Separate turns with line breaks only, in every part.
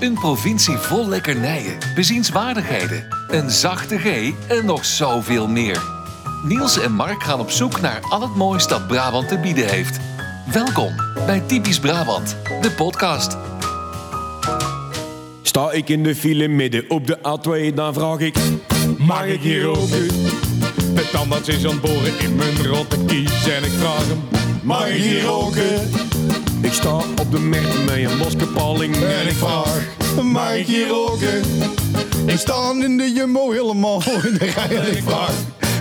Een provincie vol lekkernijen, bezienswaardigheden, een zachte G en nog zoveel meer. Niels en Mark gaan op zoek naar al het moois dat Brabant te bieden heeft. Welkom bij Typisch Brabant, de podcast.
Sta ik in de file midden op de A2, dan vraag ik...
Mag ik hier roken? De tandarts is aan het boren in mijn rotte kies en ik vraag hem... Mag ik hier roken?
Ik sta op de merk met een loskepaling.
En ik vraag... Mag ik hier roken?
Ik sta in de Jumbo helemaal in de rij en ik vraag...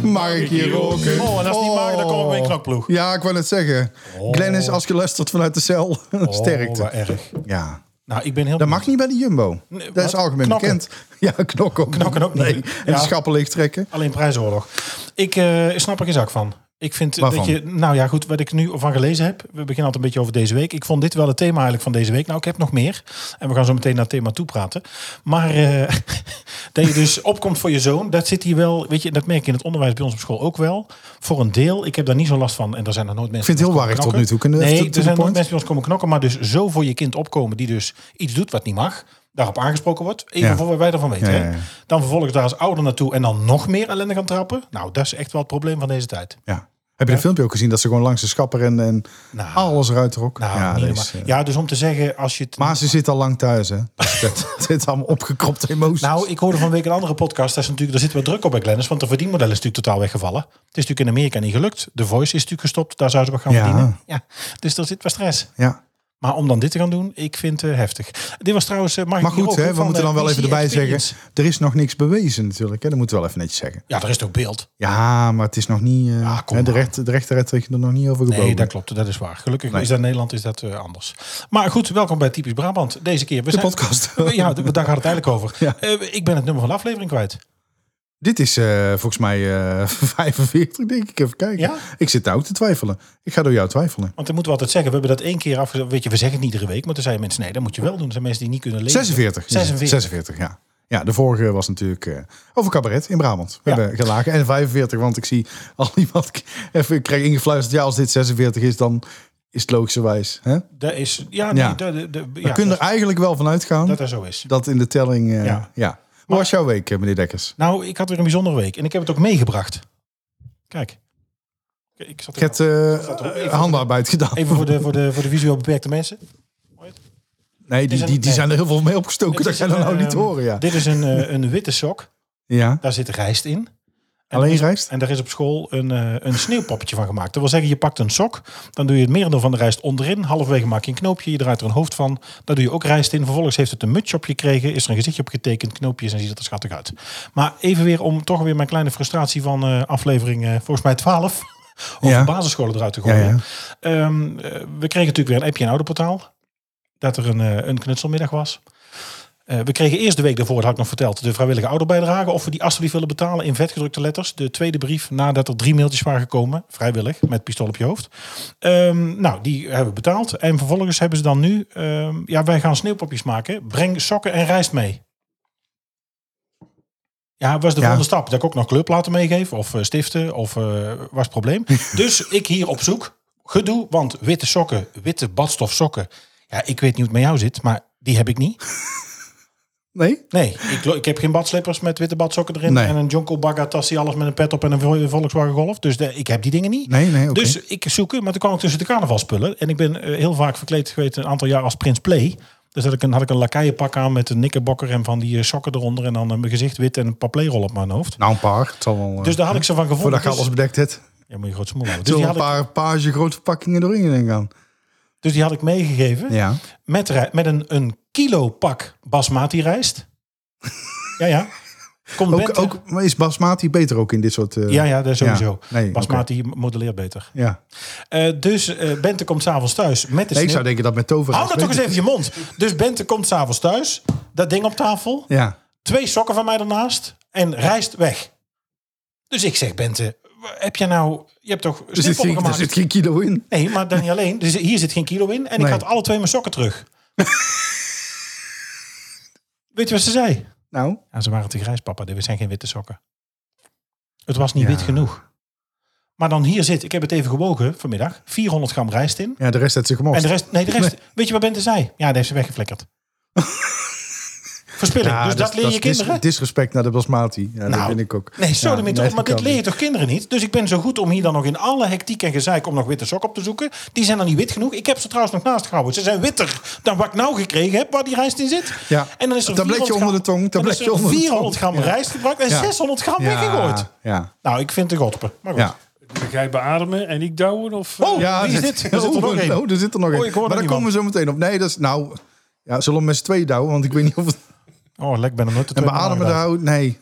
Mag ik hier roken?
Oh, en als die
Oh.
maken, dan komen we bij een knokploeg.
Ja, ik wou het zeggen. Glennis,
Oh.
als je luistert vanuit de cel, sterkte.
wat erg.
Ja.
Nou, ik ben heel...
Dat mag niet bij de Jumbo. dat is
wat?
algemeen
Knokken.
bekend. Ja, knokken ook.
Knokken ook niet.
Nee. En
Ja.
de schappen leeg trekken.
Alleen prijsoorlog. Ik eh, snap er geen zak van. Ik vind
Waarvan?
dat je... Nou ja, goed, wat ik nu van gelezen heb. We beginnen altijd een beetje over deze week. Ik vond dit wel het thema eigenlijk van deze week. Nou, ik heb nog meer. En we gaan zo meteen naar het thema toe praten. Maar eh, dat je dus opkomt voor je zoon. Dat zit hier wel... Weet je, dat merk je in het onderwijs bij ons op school ook wel. Voor een deel. Ik heb daar niet zo last van. En er zijn er nooit mensen...
Ik vind het heel warrig tot nu toe. Kunnen we
nee,
even to- to
er
the
zijn nog
point?
mensen die ons komen knokken, maar dus zo voor je kind opkomen die dus iets doet wat niet mag, daarop aangesproken wordt, even
Ja.
voor wat wij ervan weten.
Ja,
hè?
ja, ja.
Dan vervolgens daar als ouder naartoe en dan nog meer ellende gaan trappen. Nou, dat is echt wel het probleem van deze tijd.
Ja. Heb je dat filmpje ook gezien? Dat ze gewoon langs de schapper en, en
Nou.
alles eruit trok.
Nou,
ja,
niet
dat
normaal.
is, eh,
ja, dus om te zeggen, als je het...
Maar ze zit al lang thuis, hè? Dus dat- Het zit allemaal opgekropte emoties.
Nou, ik hoorde van week een andere podcast. Daar, is natuurlijk, daar zit wel druk op bij Glennis. Want de verdienmodel is natuurlijk totaal weggevallen. Het is natuurlijk in Amerika niet gelukt. De Voice is natuurlijk gestopt. Daar zouden ze wat gaan
Ja.
verdienen. Ja, dus daar zit wel stress.
ja.
Maar om dan dit te gaan doen, ik vind het heftig. Dit was trouwens... eh, Mag ik
Maar
hier
goed,
ook
hè,
van
we moeten
de
dan wel even
PC
erbij
Experience.
zeggen. Er is nog niks bewezen natuurlijk. Hè? Dat moeten we wel even netjes zeggen.
Ja, er is toch beeld?
Ja, maar het is nog niet. eh,
Ja, kom
hè, de,
maar.
rechter, de rechter heeft zich er nog niet over gebogen.
Nee, dat klopt. Dat is waar. Gelukkig is dat in Nederland is dat eh, anders. Maar goed, welkom bij Typisch Brabant. Deze keer. We
De podcast.
Ja, d- daar gaat het eigenlijk over.
Ja.
Eh, ik ben het nummer van de aflevering kwijt.
Dit is eh, volgens mij eh, 45, denk ik. Even kijken.
Ja?
Ik zit daar ook te twijfelen. Ik ga door jou twijfelen.
Want dan moeten we altijd zeggen. We hebben dat één keer afgezet. Weet je, we zeggen het niet iedere week. Maar toen zeiden mensen, nee, dat moet je wel doen. Er zijn mensen die niet kunnen lezen.
46.
46.
46, ja. Ja, de vorige was natuurlijk eh, over cabaret in Brabant. We
Ja.
hebben gelachen. En 45, want ik zie al iemand k- even ik krijg ingefluisterd. Ja, als dit 46 is, dan is het logischerwijs. Hè? We
Dat is, ja, nee,
Ja.
Dat, dat- dat- ja,
kunnen
dat,
er eigenlijk wel van uitgaan
dat
dat,
dat zo is.
in de telling... eh, ja.
Ja.
Hoe was jouw week, eh, meneer Dekkers?
Nou, ik had weer een bijzondere week. En ik heb het ook meegebracht. Kijk. Ik- Ik zat
Ik heb eh handarbeid gedaan.
Even voor de, voor de, voor de visueel beperkte mensen.
Nee, die,
is een-
die, die
nee.
zijn er heel veel mee opgestoken.
Dit
Dat
is
kan je
een,
nou
eh,
niet horen, ja.
Dit is een, eh, een witte sok.
Ja,
Daar zit rijst in. En
alleen
er is-
rijst?
En daar is op school een, eh, een sneeuwpoppetje van gemaakt. Dat wil zeggen, je pakt een sok, dan doe je het merendeel van de rijst onderin. Halverwege maak je een knoopje, je draait er een hoofd van. Daar doe je ook rijst in. Vervolgens heeft het een mutsje op je gekregen, is er een gezichtje op getekend, knoopjes en ziet het er schattig uit. Maar even weer om toch weer mijn kleine frustratie van eh, aflevering eh, volgens mij 12 over
Ja.
basisscholen eruit te gooien.
Ja, ja.
Ehm, eh, we kregen natuurlijk weer een appje in Ouderportaal. Dat er een, eh, een knutselmiddag was. Eh, we kregen eerst de week daarvoor, dat had ik nog verteld, de vrijwillige ouderbijdrage. Of we die alsjeblieft willen betalen in vetgedrukte letters. De tweede brief nadat er drie mailtjes waren gekomen, vrijwillig, met pistool op je hoofd. Ehm, nou, die hebben we betaald. En vervolgens hebben ze dan nu, ehm, ja, wij gaan sneeuwpopjes maken. Breng sokken en rijst mee. Ja, was de
Ja.
volgende stap. Dat ik ook nog kleurplaten meegeef, of eh, stiften, of eh, was het probleem. dus ik hier op zoek. Gedoe, want witte sokken, witte badstof sokken. Ja, ik weet niet hoe het met jou zit, maar die heb ik niet.
Nee?
Nee, ik, lo- ik heb geen badslippers met witte badsokken erin.
Nee.
En een Jonko Bagatassi, alles met een pet op en een Vol- Volkswagen Golf. Dus de- ik heb die dingen niet.
Nee, nee, oké.
Dus ik zoek, maar toen kwam ik tussen de carnavalspullen. En ik ben eh, heel vaak verkleed geweest een aantal jaar als Prins Play. Dus had ik een, had ik een lakaienpak aan met een nikkerbokker en van die eh, sokken eronder. En dan eh, mijn gezicht wit en een papleerrol op mijn hoofd.
Nou, een paar. Het zal wel, eh,
Dus daar had ik ze van gevonden.
voordat je
Dus-
alles bedekt hebt.
Ja, moet je groot smoel houden.
Dus
Dus die,
een
had ik,
paar page grote verpakkingen doorheen denk ik aan.
dus die had ik meegegeven.
Ja.
Met, rij- met een, een kilo pak basmati rijst. ja, ja. Komt
Ook,
Bente-
ook, maar is basmati beter ook in dit soort... eh,
eh- Ja, ja, dat sowieso.
Ja, nee,
Basmati modelleert beter.
Ja.
Eh, dus eh, Bente komt s'avonds thuis met de
Nee, ik
sneeuw-
zou denken dat met tover...
Hou nou toch eens even je mond. Dus Bente komt s'avonds thuis. Dat ding op tafel.
Ja.
Twee sokken van mij ernaast. En rijst weg. Dus ik zeg Bente, wa- heb je nou... Je hebt toch
Dus Er zit,
sneeuwpoppen
geen, er zit
gemaakt?
geen kilo in.
Nee, maar dan niet alleen. Dus hier zit geen kilo in. En
Nee.
ik had alle twee mijn sokken terug. Weet je wat ze zei?
Nou,
Ja, ze waren te grijs, papa. Dit zijn geen witte sokken. Het was niet
Ja.
wit genoeg. Maar dan hier zit, ik heb het even gewogen vanmiddag, 400 gram rijst in.
ja, de rest heeft ze
En
gemorst.
de rest, nee, de rest, weet je wat Bente zei? Ja, die heeft ze weggeflikkerd. Verspilling.
Ja,
dus dat, leer je
is dis-
kinderen.
disrespect naar de basmati. Ja, dat
Nou,
vind ik ook.
Nee, sorry,
Ja,
maar,
nee,
maar
dat
dit
kan
leer je
niet.
toch kinderen niet? Dus ik ben zo goed om hier dan nog in alle hectiek en gezeik om nog witte sokken op te zoeken. Die zijn dan niet wit genoeg. Ik heb ze trouwens nog naast gehouden. Ze zijn witter dan wat ik nou gekregen heb, waar die rijst in zit.
Ja.
En dan is er
Tabletje
400 gram-
onder de tong,
dan is er
tabletje onder de
400
tong.
gram rijst gebruikt en
Ja.
600 gram
Ja,
weggegooid.
Ja.
Nou, ik vind de godpen. Maar goed.
ja.
Ga jij beademen en ik douwen? Of, eh,
Oh, wie is dit? Er zit er nog
oh,
één.
oh, er zit er nog
Oh,
één.
ik hoor
maar
er
daar komen we zo meteen op. Nee, dat is nou. Ja, zullen we met z'n tweeën douwen? Want ik weet niet of het.
Oh, lek ben hem nooit te Nou,
En
tweede
beademen
aangedaan.
daar. Nee.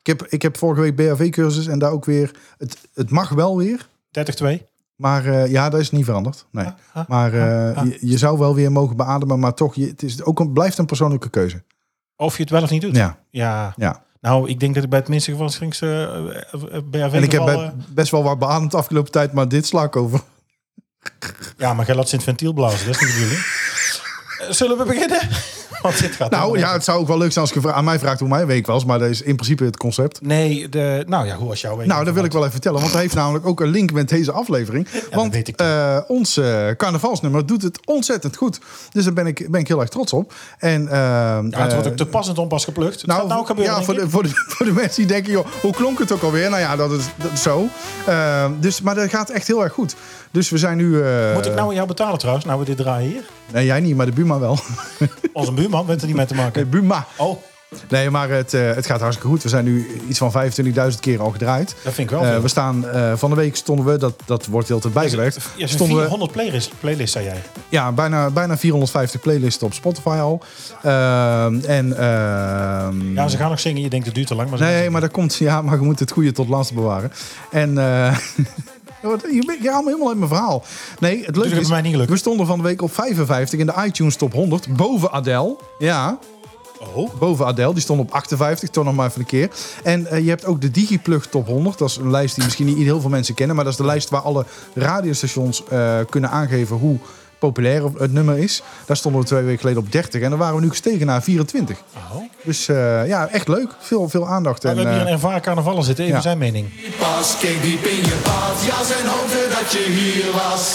Ik heb, ik heb vorige week BHV-cursus en daar ook weer. Het, het mag wel weer.
32.
Maar eh, ja, dat is niet veranderd. Nee.
Ah,
Maar eh, je, je zou wel weer mogen beademen. Maar toch, je, het is ook een, blijft een persoonlijke keuze.
Of je het wel of niet doet.
Ja.
Ja.
ja.
Nou, ik denk dat ik bij het minste geval Schinks eh BHV
En ik heb be-
eh,
best wel wat beademd de afgelopen tijd. Maar dit sla ik over.
Ja, maar jij laat ze in het ventiel blazen. Dat is niet de bedoeling. Eh, Zullen we beginnen? Want dit gaat
Nou ja,
helemaal
het zou ook wel leuk zijn als je gevra- aan mij vraagt hoe mijn week was. Maar dat is in principe het concept.
niet. Nee, de, nou ja, hoe was jouw week?
Nou, dat wil ik wel even vertellen. Want hij heeft namelijk ook een link met deze aflevering. want
weet ik.
eh, ons eh, carnavalsnummer doet het ontzettend goed. Dus daar ben ik, ben ik heel erg trots op. En, eh,
Ja, het wordt
eh,
ook te passend onpas geplukt. Het nou, gaat nou gebeuren,
ja,
denk
voor
ik.
de, voor, de, voor de mensen die denken, joh, hoe klonk het ook alweer? Nou ja, dat is, dat is zo. Eh, dus, maar dat gaat echt heel erg goed. Dus we zijn nu... eh,
Moet ik nou aan jou betalen trouwens? Nou, we dit draaien hier.
Nee, jij niet, maar de Buma wel.
Onze buurman bent er niet mee te
De
maken.
Buma.
Oh,
Nee, maar het, eh, het gaat hartstikke goed. We zijn nu iets van 25.000 keer al gedraaid.
dat vind ik wel
Eh,
veel.
we staan, eh, van de week stonden we, dat, dat wordt heel tijd bijgewerkt.
Ja, zo'n
stonden we
400 playlist, playlist, zei jij.
ja, bijna, bijna 450 playlists op Spotify al. Ehm, en, ehm,
Ja, ze gaan nog zingen. Je denkt, het duurt te lang. Maar ze gaan
nee,
zingen.
maar dat komt, ja, maar je moet het goede tot laatst bewaren. En eh, wat- je bent- je haalt me helemaal uit mijn verhaal. Nee, het
heb
leuke
je
is,
mij niet gelukt.
we stonden van de week op 55 in de iTunes top 100 boven Adele. Ja. Oh, Boven Adele, die stond op 58, toch nog maar even een keer. En eh, je hebt ook de Digiplug Top 100. Dat is een lijst die misschien niet heel veel mensen kennen, maar dat is de lijst waar alle radiostations eh, kunnen aangeven hoe populair het nummer is. Daar stonden we twee weken geleden op 30 en dan waren we nu gestegen naar 24.
Oh.
Dus eh, ja, echt leuk. Veel, veel aandacht.
Maar
En,
we hebben
eh,
hier een ervaren carnavaller zitten. Even
ja.
zijn mening.
Pas keek diep in je pad, ja zijn hoofden dat je hier was.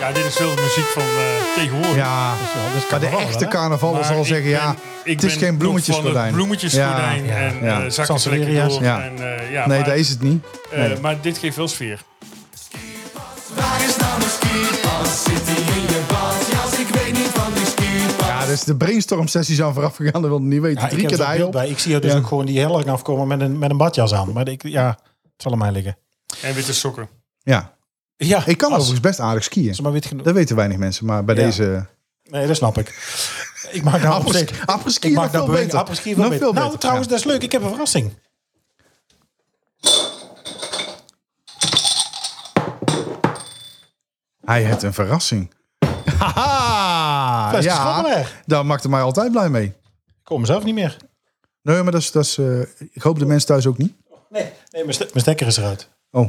ja, dit is wel de muziek van eh, tegenwoordig.
ja, maar de
carnaval,
echte
hè?
carnaval
Maar
zal
ik
zeggen,
ben-
ja,
ik
het is
ben
geen
nog van
bloemetjesgordijn.
het bloemetjesgordijn
Ja.
en
ja.
eh zakken ze lekker
Sansevieria.
door.
Ja.
En, eh, ja,
Nee,
maar,
dat is het niet.
eh, maar dit geeft wel sfeer.
Waar is nou mijn skierpas? Zit hij in je bad? Ja, ik weet niet van die skierpas.
Ja, dus de brainstorm-sessies aan vooraf gegaan, dat wilde ik niet weten.
Ja,
Drie
ik,
keer
heb
de
er
ei
beeld
op.
bij. ik zie jou dus
Ja.
ook gewoon die heel lang afkomen met een, met een badjas aan. Maar ik, ja, het zal aan mij liggen.
En witte sokken.
Ja.
Ja,
Ik kan
als-
overigens best aardig skiën.
als ze maar wit genoeg.
Dat weten weinig mensen, maar bij
Ja.
deze...
Nee, dat snap ik. Ik maak nou op zich-
Apres-ski
Ik
nog
maak nou
veel
beweging.
beter.
Apres-ski veel
Nog
beter.
veel
Nou,
beter,
trouwens,
ja.
dat is leuk. Ik heb een verrassing.
Hij heeft een verrassing. Haha!
Beste
Ja,
schrabbelaar.
daar maakte mij altijd blij mee.
Ik kom mezelf niet meer.
Nee, maar dat is... Dat is eh, ik hoop de mensen thuis ook niet.
Nee, nee mijn, ste- mijn stekker is eruit.
Oh.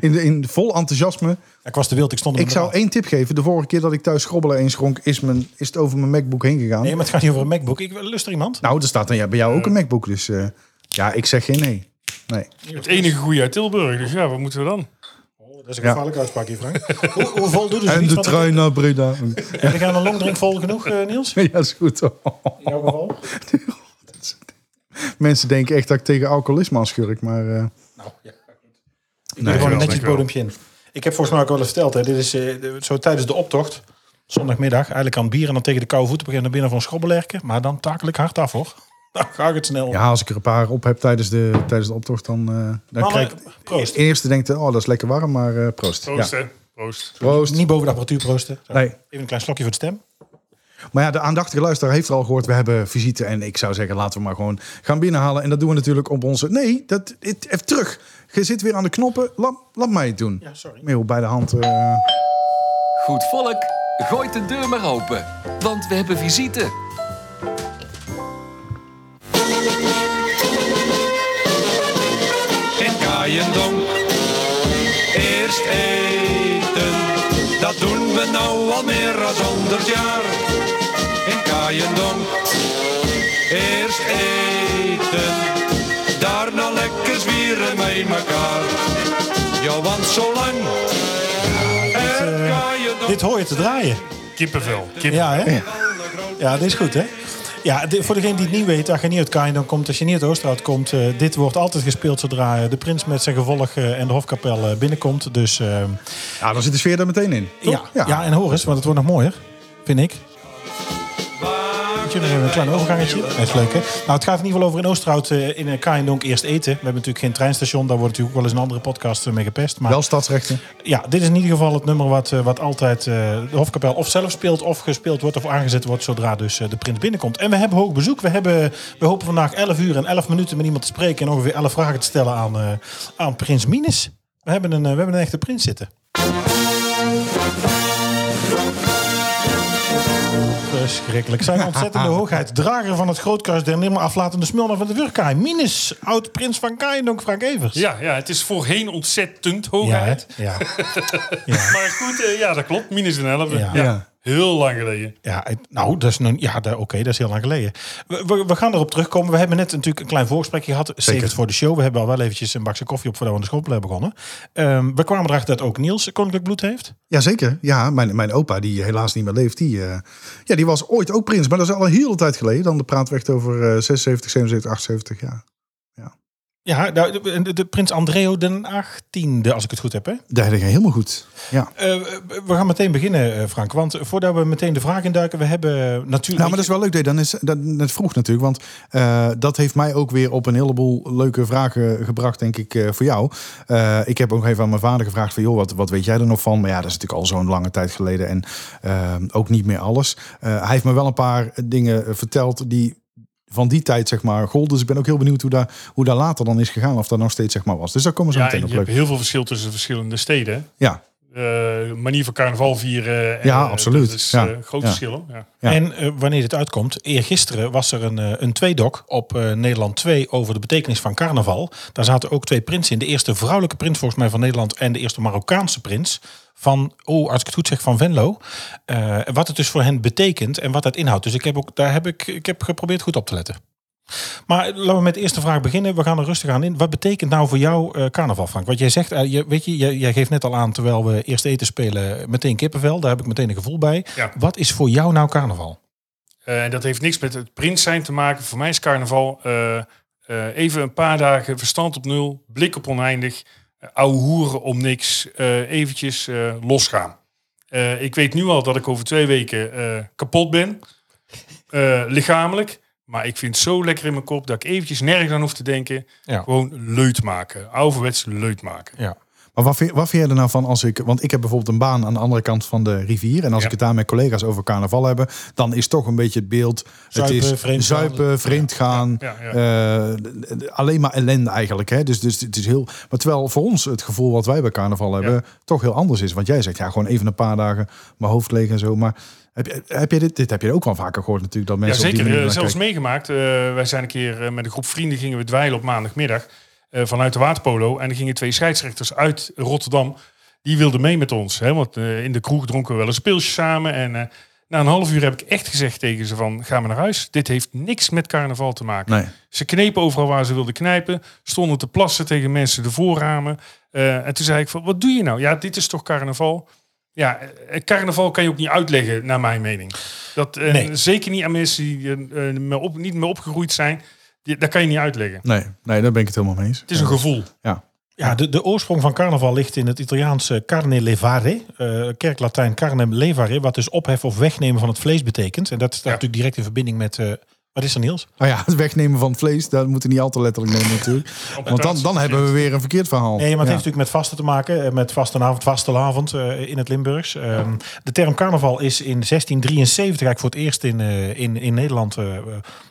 in, in vol enthousiasme.
Ik was te wild. Ik stond er
Ik
met
zou
de-
één tip geven. De vorige keer dat ik thuis schrobbelen inschonk, is, mijn, is het over mijn MacBook heen gegaan.
Nee, maar het gaat niet over een MacBook. Ik lust er iemand.
Nou, er staat dan, ja, bij jou ook een MacBook. Dus eh, ja, ik zeg geen nee. Nee.
Het enige goede uit Tilburg. Dus ja, wat moeten we dan?
Oh, dat is een
ja.
gevaarlijke uitspraak hier, Frank. hoe, hoe vol doet ze
En
niet
de
van
trein naar Breda.
Heb je aan een longdrink vol genoeg, eh, Niels?
ja, is goed.
In jouw geval?
Mensen denken echt dat ik tegen alcoholisme aanschurk. Maar eh,
Ik doe er gewoon
dankjewel,
een netjes
dankjewel.
bodempje in. Ik heb volgens mij ook wel eens verteld. Hè. Dit is eh, de- zo tijdens de optocht. Zondagmiddag. Eigenlijk aan het bier en dan tegen de koude voeten beginnen naar binnen van schrobbelerken. Maar dan takel ik hard af, hoor. Dan ga ik het snel.
ja, als ik er een paar op heb tijdens de, tijdens de optocht, dan, eh dan
Mannen,
krijg ik...
proost.
Eerst denkt, oh, dat is lekker warm, maar eh, proost.
Proost,
Ja.
hè? Proost.
Proost.
Niet boven de apparatuur proosten. Zo.
Nee.
Even een klein slokje voor de stem.
Maar ja, de aandachtige luisteraar heeft er al gehoord. We hebben visite en ik zou zeggen, laten we maar gewoon gaan binnenhalen. En dat doen we natuurlijk op onze... Nee, dat, het, even terug. Je zit weer aan de knoppen. Laat, laat mij het doen.
Ja, sorry.
Merel bij de hand. eh,
Goed volk, gooit de deur maar open, want we hebben visite.
In Kaaiendonk. Eerst eten. Dat doen we nou al meer dan 100 jaar. In Kaaiendonk. Eerst eten. Daarna lekker zwieren met elkaar. Ja, want zolang. Er
eh,
Kaaiendonk.
Dit hoor je te draaien.
Kippenvel. Kip.
Ja, hè? Ja, dit is goed, hè? Ja, dit- voor degene die het niet weet, als je niet uit Kaaiendam komt, als je niet uit Oosterhout komt, eh, dit wordt altijd gespeeld zodra eh, de prins met zijn gevolg eh, en de hofkapel eh, binnenkomt. Dus eh,
Ja, dan zit de sfeer daar meteen in.
ja.
toch?
Ja. en hoor eens, want het wordt nog mooier, vind ik. Moet je nog even een klein overgangetje. Dat is leuk, hè? Nou, het gaat in ieder geval over in Oosterhout, eh, in Kaaiendonk eerst eten. We hebben natuurlijk geen treinstation, daar wordt natuurlijk ook wel eens een andere podcast eh, mee gepest. Maar
Wel stadsrechten.
ja, dit is in ieder geval het nummer wat, eh, wat altijd eh, de Hofkapel of zelf speelt of gespeeld wordt of aangezet wordt zodra dus eh, de prins binnenkomt. En we hebben hoog bezoek. We, hebben, we hopen vandaag 11 uur en 11 minuten met iemand te spreken en ongeveer 11 vragen te stellen aan, eh, aan prins Minus. We hebben, een, eh, we hebben een echte prins zitten. Verschrikkelijk. Zijn ontzettende hoogheid. Drager van het grootkruis der nimmer aflatende smulna van de Wurkai. Minus, oud-prins van Kaaiendonk, Frank Evers.
Ja, ja, het is voorheen ontzettend hoogheid.
hè? ja.
Maar goed, eh, ja, dat klopt. Minus een 11.
Ja.
Ja.
Ja.
Heel lang geleden.
Ja, het- nou, dat is nu, ja, daar- oké, dat is heel lang geleden. We, we, we gaan erop terugkomen. We hebben net natuurlijk een klein voorgesprekje gehad. Zeker voor de show. We hebben al wel eventjes een bakje koffie op voordat we aan de schoolplein begonnen. Ehm, we kwamen erachter dat ook Niels koninklijk bloed heeft.
Jazeker. Ja, mijn, mijn opa, die helaas niet meer leeft, die, eh, ja, die was ooit ook prins. Maar dat is al een hele tijd geleden. Dan de praat we echt over eh, 76, 77, 78 jaar.
Ja, nou, de, de- de prins Andreo den 18e, als ik het goed heb. Hè?
Daar ging helemaal goed. Ja.
Eh, we gaan meteen beginnen, eh, Frank. Want voordat we meteen de vraag induiken, we hebben natuurlijk...
Nou, maar dat is wel leuk. Nee, dan is dat net vroeg natuurlijk. Want eh, dat heeft mij ook weer op een heleboel leuke vragen gebracht, denk ik, eh, voor jou. Eh, ik heb ook even aan mijn vader gevraagd van, joh, wat, wat weet jij er nog van? Maar ja, dat is natuurlijk al zo'n lange tijd geleden en eh, ook niet meer alles. Eh, hij heeft me wel een paar dingen verteld die van die tijd, zeg maar, golden. Dus ik ben ook heel benieuwd hoe daar, hoe daar later dan is gegaan. Of dat nog steeds, zeg maar, was. Dus daar komen we zo
Ja, en
meteen
je
op.
hebt
Leuk.
heel veel verschil tussen verschillende steden. hè.
Ja,
Eh, manier van carnaval vieren. en,
Ja,
eh,
absoluut.
Dat is
Ja.
eh, groot
Ja.
verschil. hoor. Ja.
Ja.
En eh, wanneer dit uitkomt, eergisteren was er een, eh, een tweedok op eh, Nederland 2 over de betekenis van carnaval. Daar zaten ook twee prinsen in. De eerste vrouwelijke prins volgens mij van Nederland en de eerste Marokkaanse prins van, oh, als ik het goed zeg, van Venlo. Eh, wat het dus voor hen betekent en wat dat inhoudt. Dus ik heb ook, daar heb ik, ik heb geprobeerd goed op te letten. Maar eh, laten we met de eerste vraag beginnen. We gaan er rustig aan in. Wat betekent nou voor jou eh, carnaval, Frank? Want jij zegt, eh, je, weet je, jij, jij geeft net al aan terwijl we eerst eten spelen, meteen kippenvel. Daar heb ik meteen een gevoel bij.
Ja.
Wat is voor jou nou carnaval?
Eh, en dat heeft niks met het prins zijn te maken. Voor mij is carnaval eh, eh, even een paar dagen verstand op nul, blik op oneindig, uh, hoeren om niks, eh, eventjes eh, losgaan. Eh, ik weet nu al dat ik over twee weken eh, kapot ben, eh, lichamelijk. Maar ik vind het zo lekker in mijn kop dat ik eventjes nergens aan hoef te denken.
Ja.
Gewoon leut maken. Ouderwets leut maken.
Ja.
Maar wat vind, wat vind jij er nou van als ik... Want ik heb bijvoorbeeld een baan aan de andere kant van de rivier. En als
Ja.
ik het daar met collega's over carnaval hebben... dan is toch een beetje het beeld...
Zuipen,
het is
vreemd gaan.
zuipen, vreemd gaan.
Ja, ja.
eh, d- d- alleen maar ellende eigenlijk. Hè? Dus, dus het is heel... Maar terwijl voor ons het gevoel wat wij bij carnaval hebben... toch heel anders is. Want jij zegt, ja, gewoon even een paar dagen mijn hoofd leeg en zo. Maar heb, je- heb je dit, dit heb je ook wel vaker gehoord natuurlijk. Dat
Ja,
mensen op
zeker.
die
Eh,
manier naar
zelfs
kijken.
meegemaakt. Eh, wij zijn een keer eh, met een groep vrienden gingen we dweilen op maandagmiddag eh, vanuit de waterpolo. En er gingen twee scheidsrechters uit Rotterdam. Die wilden mee met ons. Hè, want eh, in de kroeg dronken we wel een speeltje samen. En eh, na een half uur heb ik echt gezegd tegen ze van... ga maar naar huis. Dit heeft niks met carnaval te maken.
Nee.
Ze knepen overal waar ze wilden knijpen. Stonden te plassen tegen mensen de voorramen. Eh, en toen zei ik van, wat doe je nou? Ja, dit is toch carnaval? Ja, eh, carnaval kan je ook niet uitleggen, naar mijn mening. Dat, eh,
Nee.
Zeker niet aan mensen die eh, eh, me op, niet meer opgegroeid zijn. Die, dat kan je niet uitleggen.
Nee, nee, daar ben ik het helemaal mee eens.
Het is een gevoel.
Ja, de, de oorsprong van carnaval ligt in het Italiaanse carne levare, eh kerklatijn carne levare, wat dus ophef of wegnemen van het vlees betekent. En dat staat natuurlijk direct in verbinding met, eh, wat is er Niels?
Nou ja, het wegnemen van het vlees, dat moeten we niet al te letterlijk nemen natuurlijk. Want dan, dan hebben we weer een verkeerd verhaal.
Nee, maar het
Ja.
heeft natuurlijk met vasten te maken, eh, met vastenavond, vastelavond eh, in het Limburgs. Ehm, de term carnaval is in 1673 eigenlijk voor het eerst in, eh, in, in Nederland eh, eh,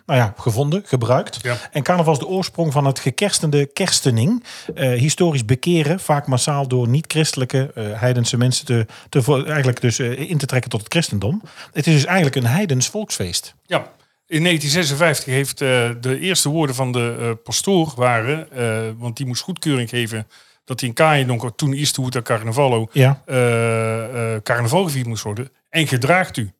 nou ja, gevonden, gebruikt.
Ja.
En carnaval is de oorsprong van het gekerstende kerstening. Eh, historisch bekeren, vaak massaal door niet-christelijke eh, heidense mensen te, te, vo- eigenlijk dus, eh, in te trekken tot het christendom. Het is dus eigenlijk een heidens volksfeest.
Ja. In 1956 heeft eh, de eerste woorden van de eh, pastoor waren... eh, want die moest goedkeuring geven dat hij in Kaaiendonk, toen Eastwood en Carnavallo...
Ja.
eh, eh, carnaval gevierd moest worden. En gedraagt u.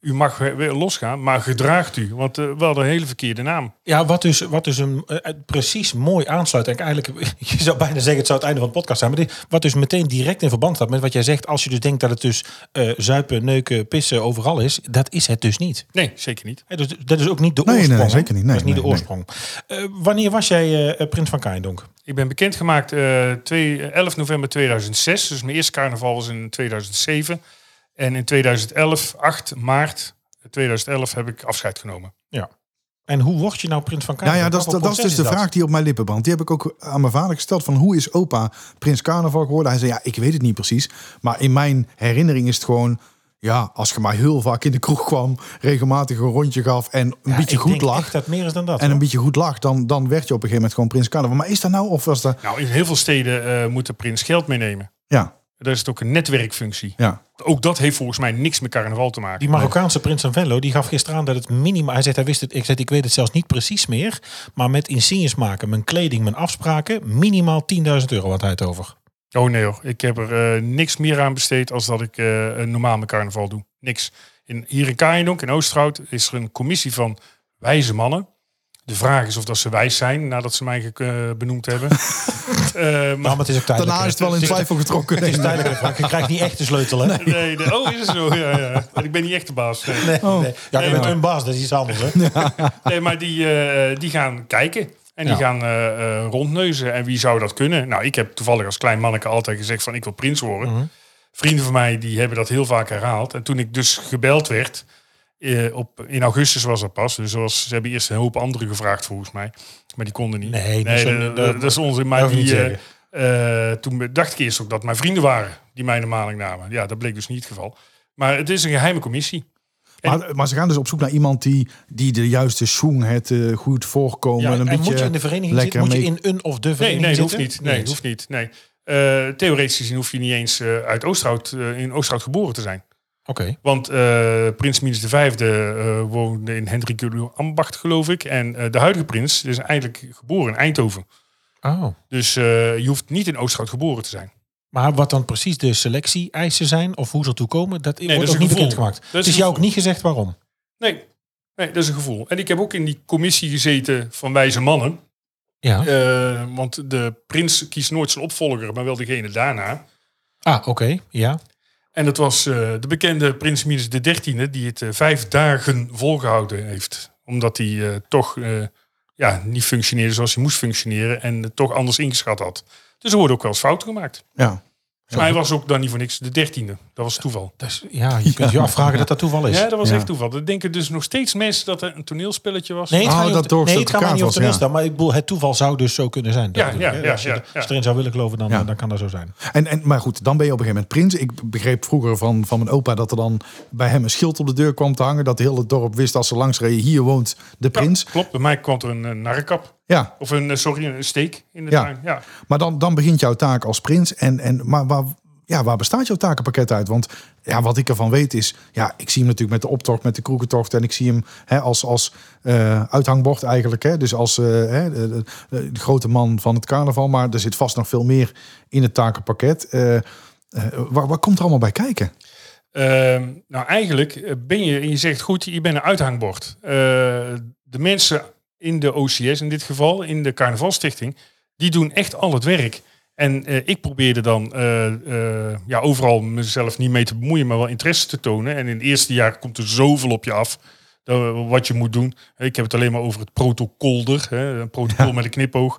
U mag eh, weer losgaan, maar gedraagt u. Want eh, we hadden een hele verkeerde naam.
Ja, wat dus, wat dus een, eh, precies mooi aansluit. En eigenlijk, je zou bijna zeggen, het zou het einde van de podcast zijn. Maar dit, wat dus meteen direct in verband staat met wat jij zegt. Als je dus denkt dat het dus eh, zuipen, neuken, pissen overal is. Dat is het dus niet.
Nee, zeker niet.
Hè, dus dat is ook niet de
Nee, nee,
oorsprong.
nee,
hè?
zeker niet. Nee,
dat is niet
nee,
de oorsprong. Eh, wanneer was jij eh, Prins van Kaindonk?
Ik ben bekendgemaakt eh, twee- eh, 11 november 2006. Dus mijn eerste carnaval was in 2007. En in 2011, 8 maart 2011, heb ik afscheid genomen.
En hoe word je nou Prins van
Nou
Kaindonk?
ja, dat, is-
Wat voor
dat is dus
proces
de vraag die op mijn lippen brandt. Die heb ik ook aan mijn vader gesteld. Van hoe is opa Prins Carnaval geworden? Hij zei, ja, ik weet het niet precies. Maar in mijn herinnering is het gewoon... Ja, als je maar heel vaak in de kroeg kwam... regelmatig een rondje gaf en een
Ja,
beetje
ik
goed
denk
lag...
echt dat meer is dan dat.
en een
hoor.
beetje goed lag, dan, dan werd je op een gegeven moment gewoon Prins Carnaval. Maar is dat nou of was dat...
Nou, in heel veel steden eh, moet de prins geld meenemen.
Ja,
Daar is het ook een netwerkfunctie.
ja.
Ook dat heeft volgens mij niks met carnaval te maken.
Die Marokkaanse prins van Venlo, die gaf gisteren aan dat het minima... Hij zegt, hij wist het, ik, zeg, ik weet het zelfs niet precies meer. Maar met insignes maken, mijn kleding, mijn afspraken... minimaal 10.000 euro had hij het over.
Oh nee hoor, ik heb er eh, niks meer aan besteed als dat ik eh, een normaal mijn carnaval doe. Niks. In, hier in Kaaiendonk, in Oosterhout, is er een commissie van wijze mannen. De vraag is of dat ze wijs zijn, nadat ze mij gek- eh, benoemd hebben. Eh,
Nou,
maar,
maar het is ook tijdelijk.
Daarna
hè.
is het wel in twijfel getrokken.
Het is tijdelijk, hè, Frank. Je krijgt niet echt de sleutel, hè? Nee,
nee, nee, oh, is het zo? Ja, ja. Want Ik ben niet echt de baas. Nee,
nee. Ja, je
Oh. Nee,
bent
maar-
een baas, dat is iets anders, hè?
Nee, maar die, eh, die gaan kijken. En die
Ja.
gaan eh, eh, rondneuzen. En wie zou dat kunnen? Nou, ik heb toevallig als klein manneke altijd gezegd van ik wil prins worden.
Mhm.
Vrienden van mij die hebben dat heel vaak herhaald. En toen ik dus gebeld werd, eh, op, in augustus was dat pas. Dus zoals, ze hebben eerst een hoop anderen gevraagd volgens mij. Maar die konden niet.
Nee, die zijn-
dat,
dat-
dat is onzin.
dat
Maar
hoef je
die,
niet
eh,
zeggen.
eh, toen dacht ik eerst ook dat mijn vrienden waren die mij de maling namen. Ja, dat bleek dus niet het geval. Maar het is een geheime commissie.
Maar, maar ze gaan dus op zoek naar iemand die, die de juiste schoen het eh, goed voorkomen.
Ja,
en een
en
beetje
moet je in de vereniging
lekker
zitten? Moet je
mee-
in een of de
Nee,
vereniging
nee, dat hoeft
zitten?
niet. Nee, hoeft niet. Nee. Eh, theoretisch gezien hoef je niet eens eh, uit Oosterhout, eh, in Oosterhout geboren te zijn.
Oké.
Want eh, prins Minus V eh woonde in Hendrik Julio Ambacht, geloof ik. En eh, de huidige prins is eigenlijk geboren in Eindhoven.
Oh.
Dus eh, je hoeft niet in Oosterhout geboren te zijn.
Maar wat dan precies de selectie-eisen zijn of hoe ze ertoe komen, dat wordt
dat is
ook
een
niet
gevoel.
bekendgemaakt.
Dat is
Het
een
is jou ook
gevoel.
niet gezegd waarom.
Nee. nee, dat is een gevoel. En ik heb ook in die commissie gezeten van wijze mannen.
Ja.
Eh, want de prins kiest nooit zijn opvolger, maar wel degene daarna.
Ah, oké. Ja.
En dat was eh, de bekende prins Minus de dertiende, die het eh, vijf dagen volgehouden heeft. Omdat hij eh, toch eh, ja, niet functioneerde zoals hij moest functioneren en het toch anders ingeschat had. Dus er worden ook wel eens fouten gemaakt.
Ja.
Maar hij was ook dan niet voor niks de dertiende. Dat was toeval.
Dus, ja, je kunt je afvragen dat dat toeval is.
Ja, dat was
Dus, Ja.
echt toeval. Er denken dus nog steeds mensen dat er een toneelspelletje was.
Nee, het
Oh,
gaat niet
dat
om-
dorst
nee,
dat
het gaat maar
elkaar
niet om
was,
toneel
ja.
staan, Maar ik bedoel, het toeval zou dus zo kunnen zijn. Dat
Ja,
bedoel ik,
ja,
hè.
ja,
Als je
ja,
er-
ja.
als je erin zou willen geloven, dan,
Ja.
dan kan dat zo zijn.
En, en, maar goed, dan ben je op een gegeven moment prins. Ik begreep vroeger van, van mijn opa dat er dan bij hem een schild op de deur kwam te hangen. Dat heel het dorp wist als ze langs reden, hier woont de
Ja,
prins.
klopt, bij mij kwam er een, eh, narrenkap.
Ja,
Of een, eh, sorry, een steek in de
Ja.
tuin. Ja.
maar dan, dan begint jouw taak als prins. En, en, maar waar, ja, waar bestaat jouw takenpakket uit? Want ja, wat ik ervan weet is, ja, ik zie hem natuurlijk met de optocht, met de kroekentocht. En ik zie hem hè, als, als eh, uithangbord eigenlijk. Hè, dus als eh, hè, de, de- de- de grote man van het carnaval. Maar er zit vast nog veel meer in het takenpakket. Eh, eh, waar, waar komt er allemaal bij kijken?
Ehm, nou, eigenlijk eh, ben je, en je zegt goed, je bent een uithangbord. Eh, de mensen in de OCS, in dit geval, in de Carnavalstichting, die doen echt al het werk. En eh, ik probeerde dan eh, eh, ja, overal mezelf niet mee te bemoeien, maar wel interesse te tonen. En in het eerste jaar komt er zoveel op je af. dat- eh, Wat je moet doen. Ik heb het alleen maar over het protocol er. Hè, een protocol met een knipoog.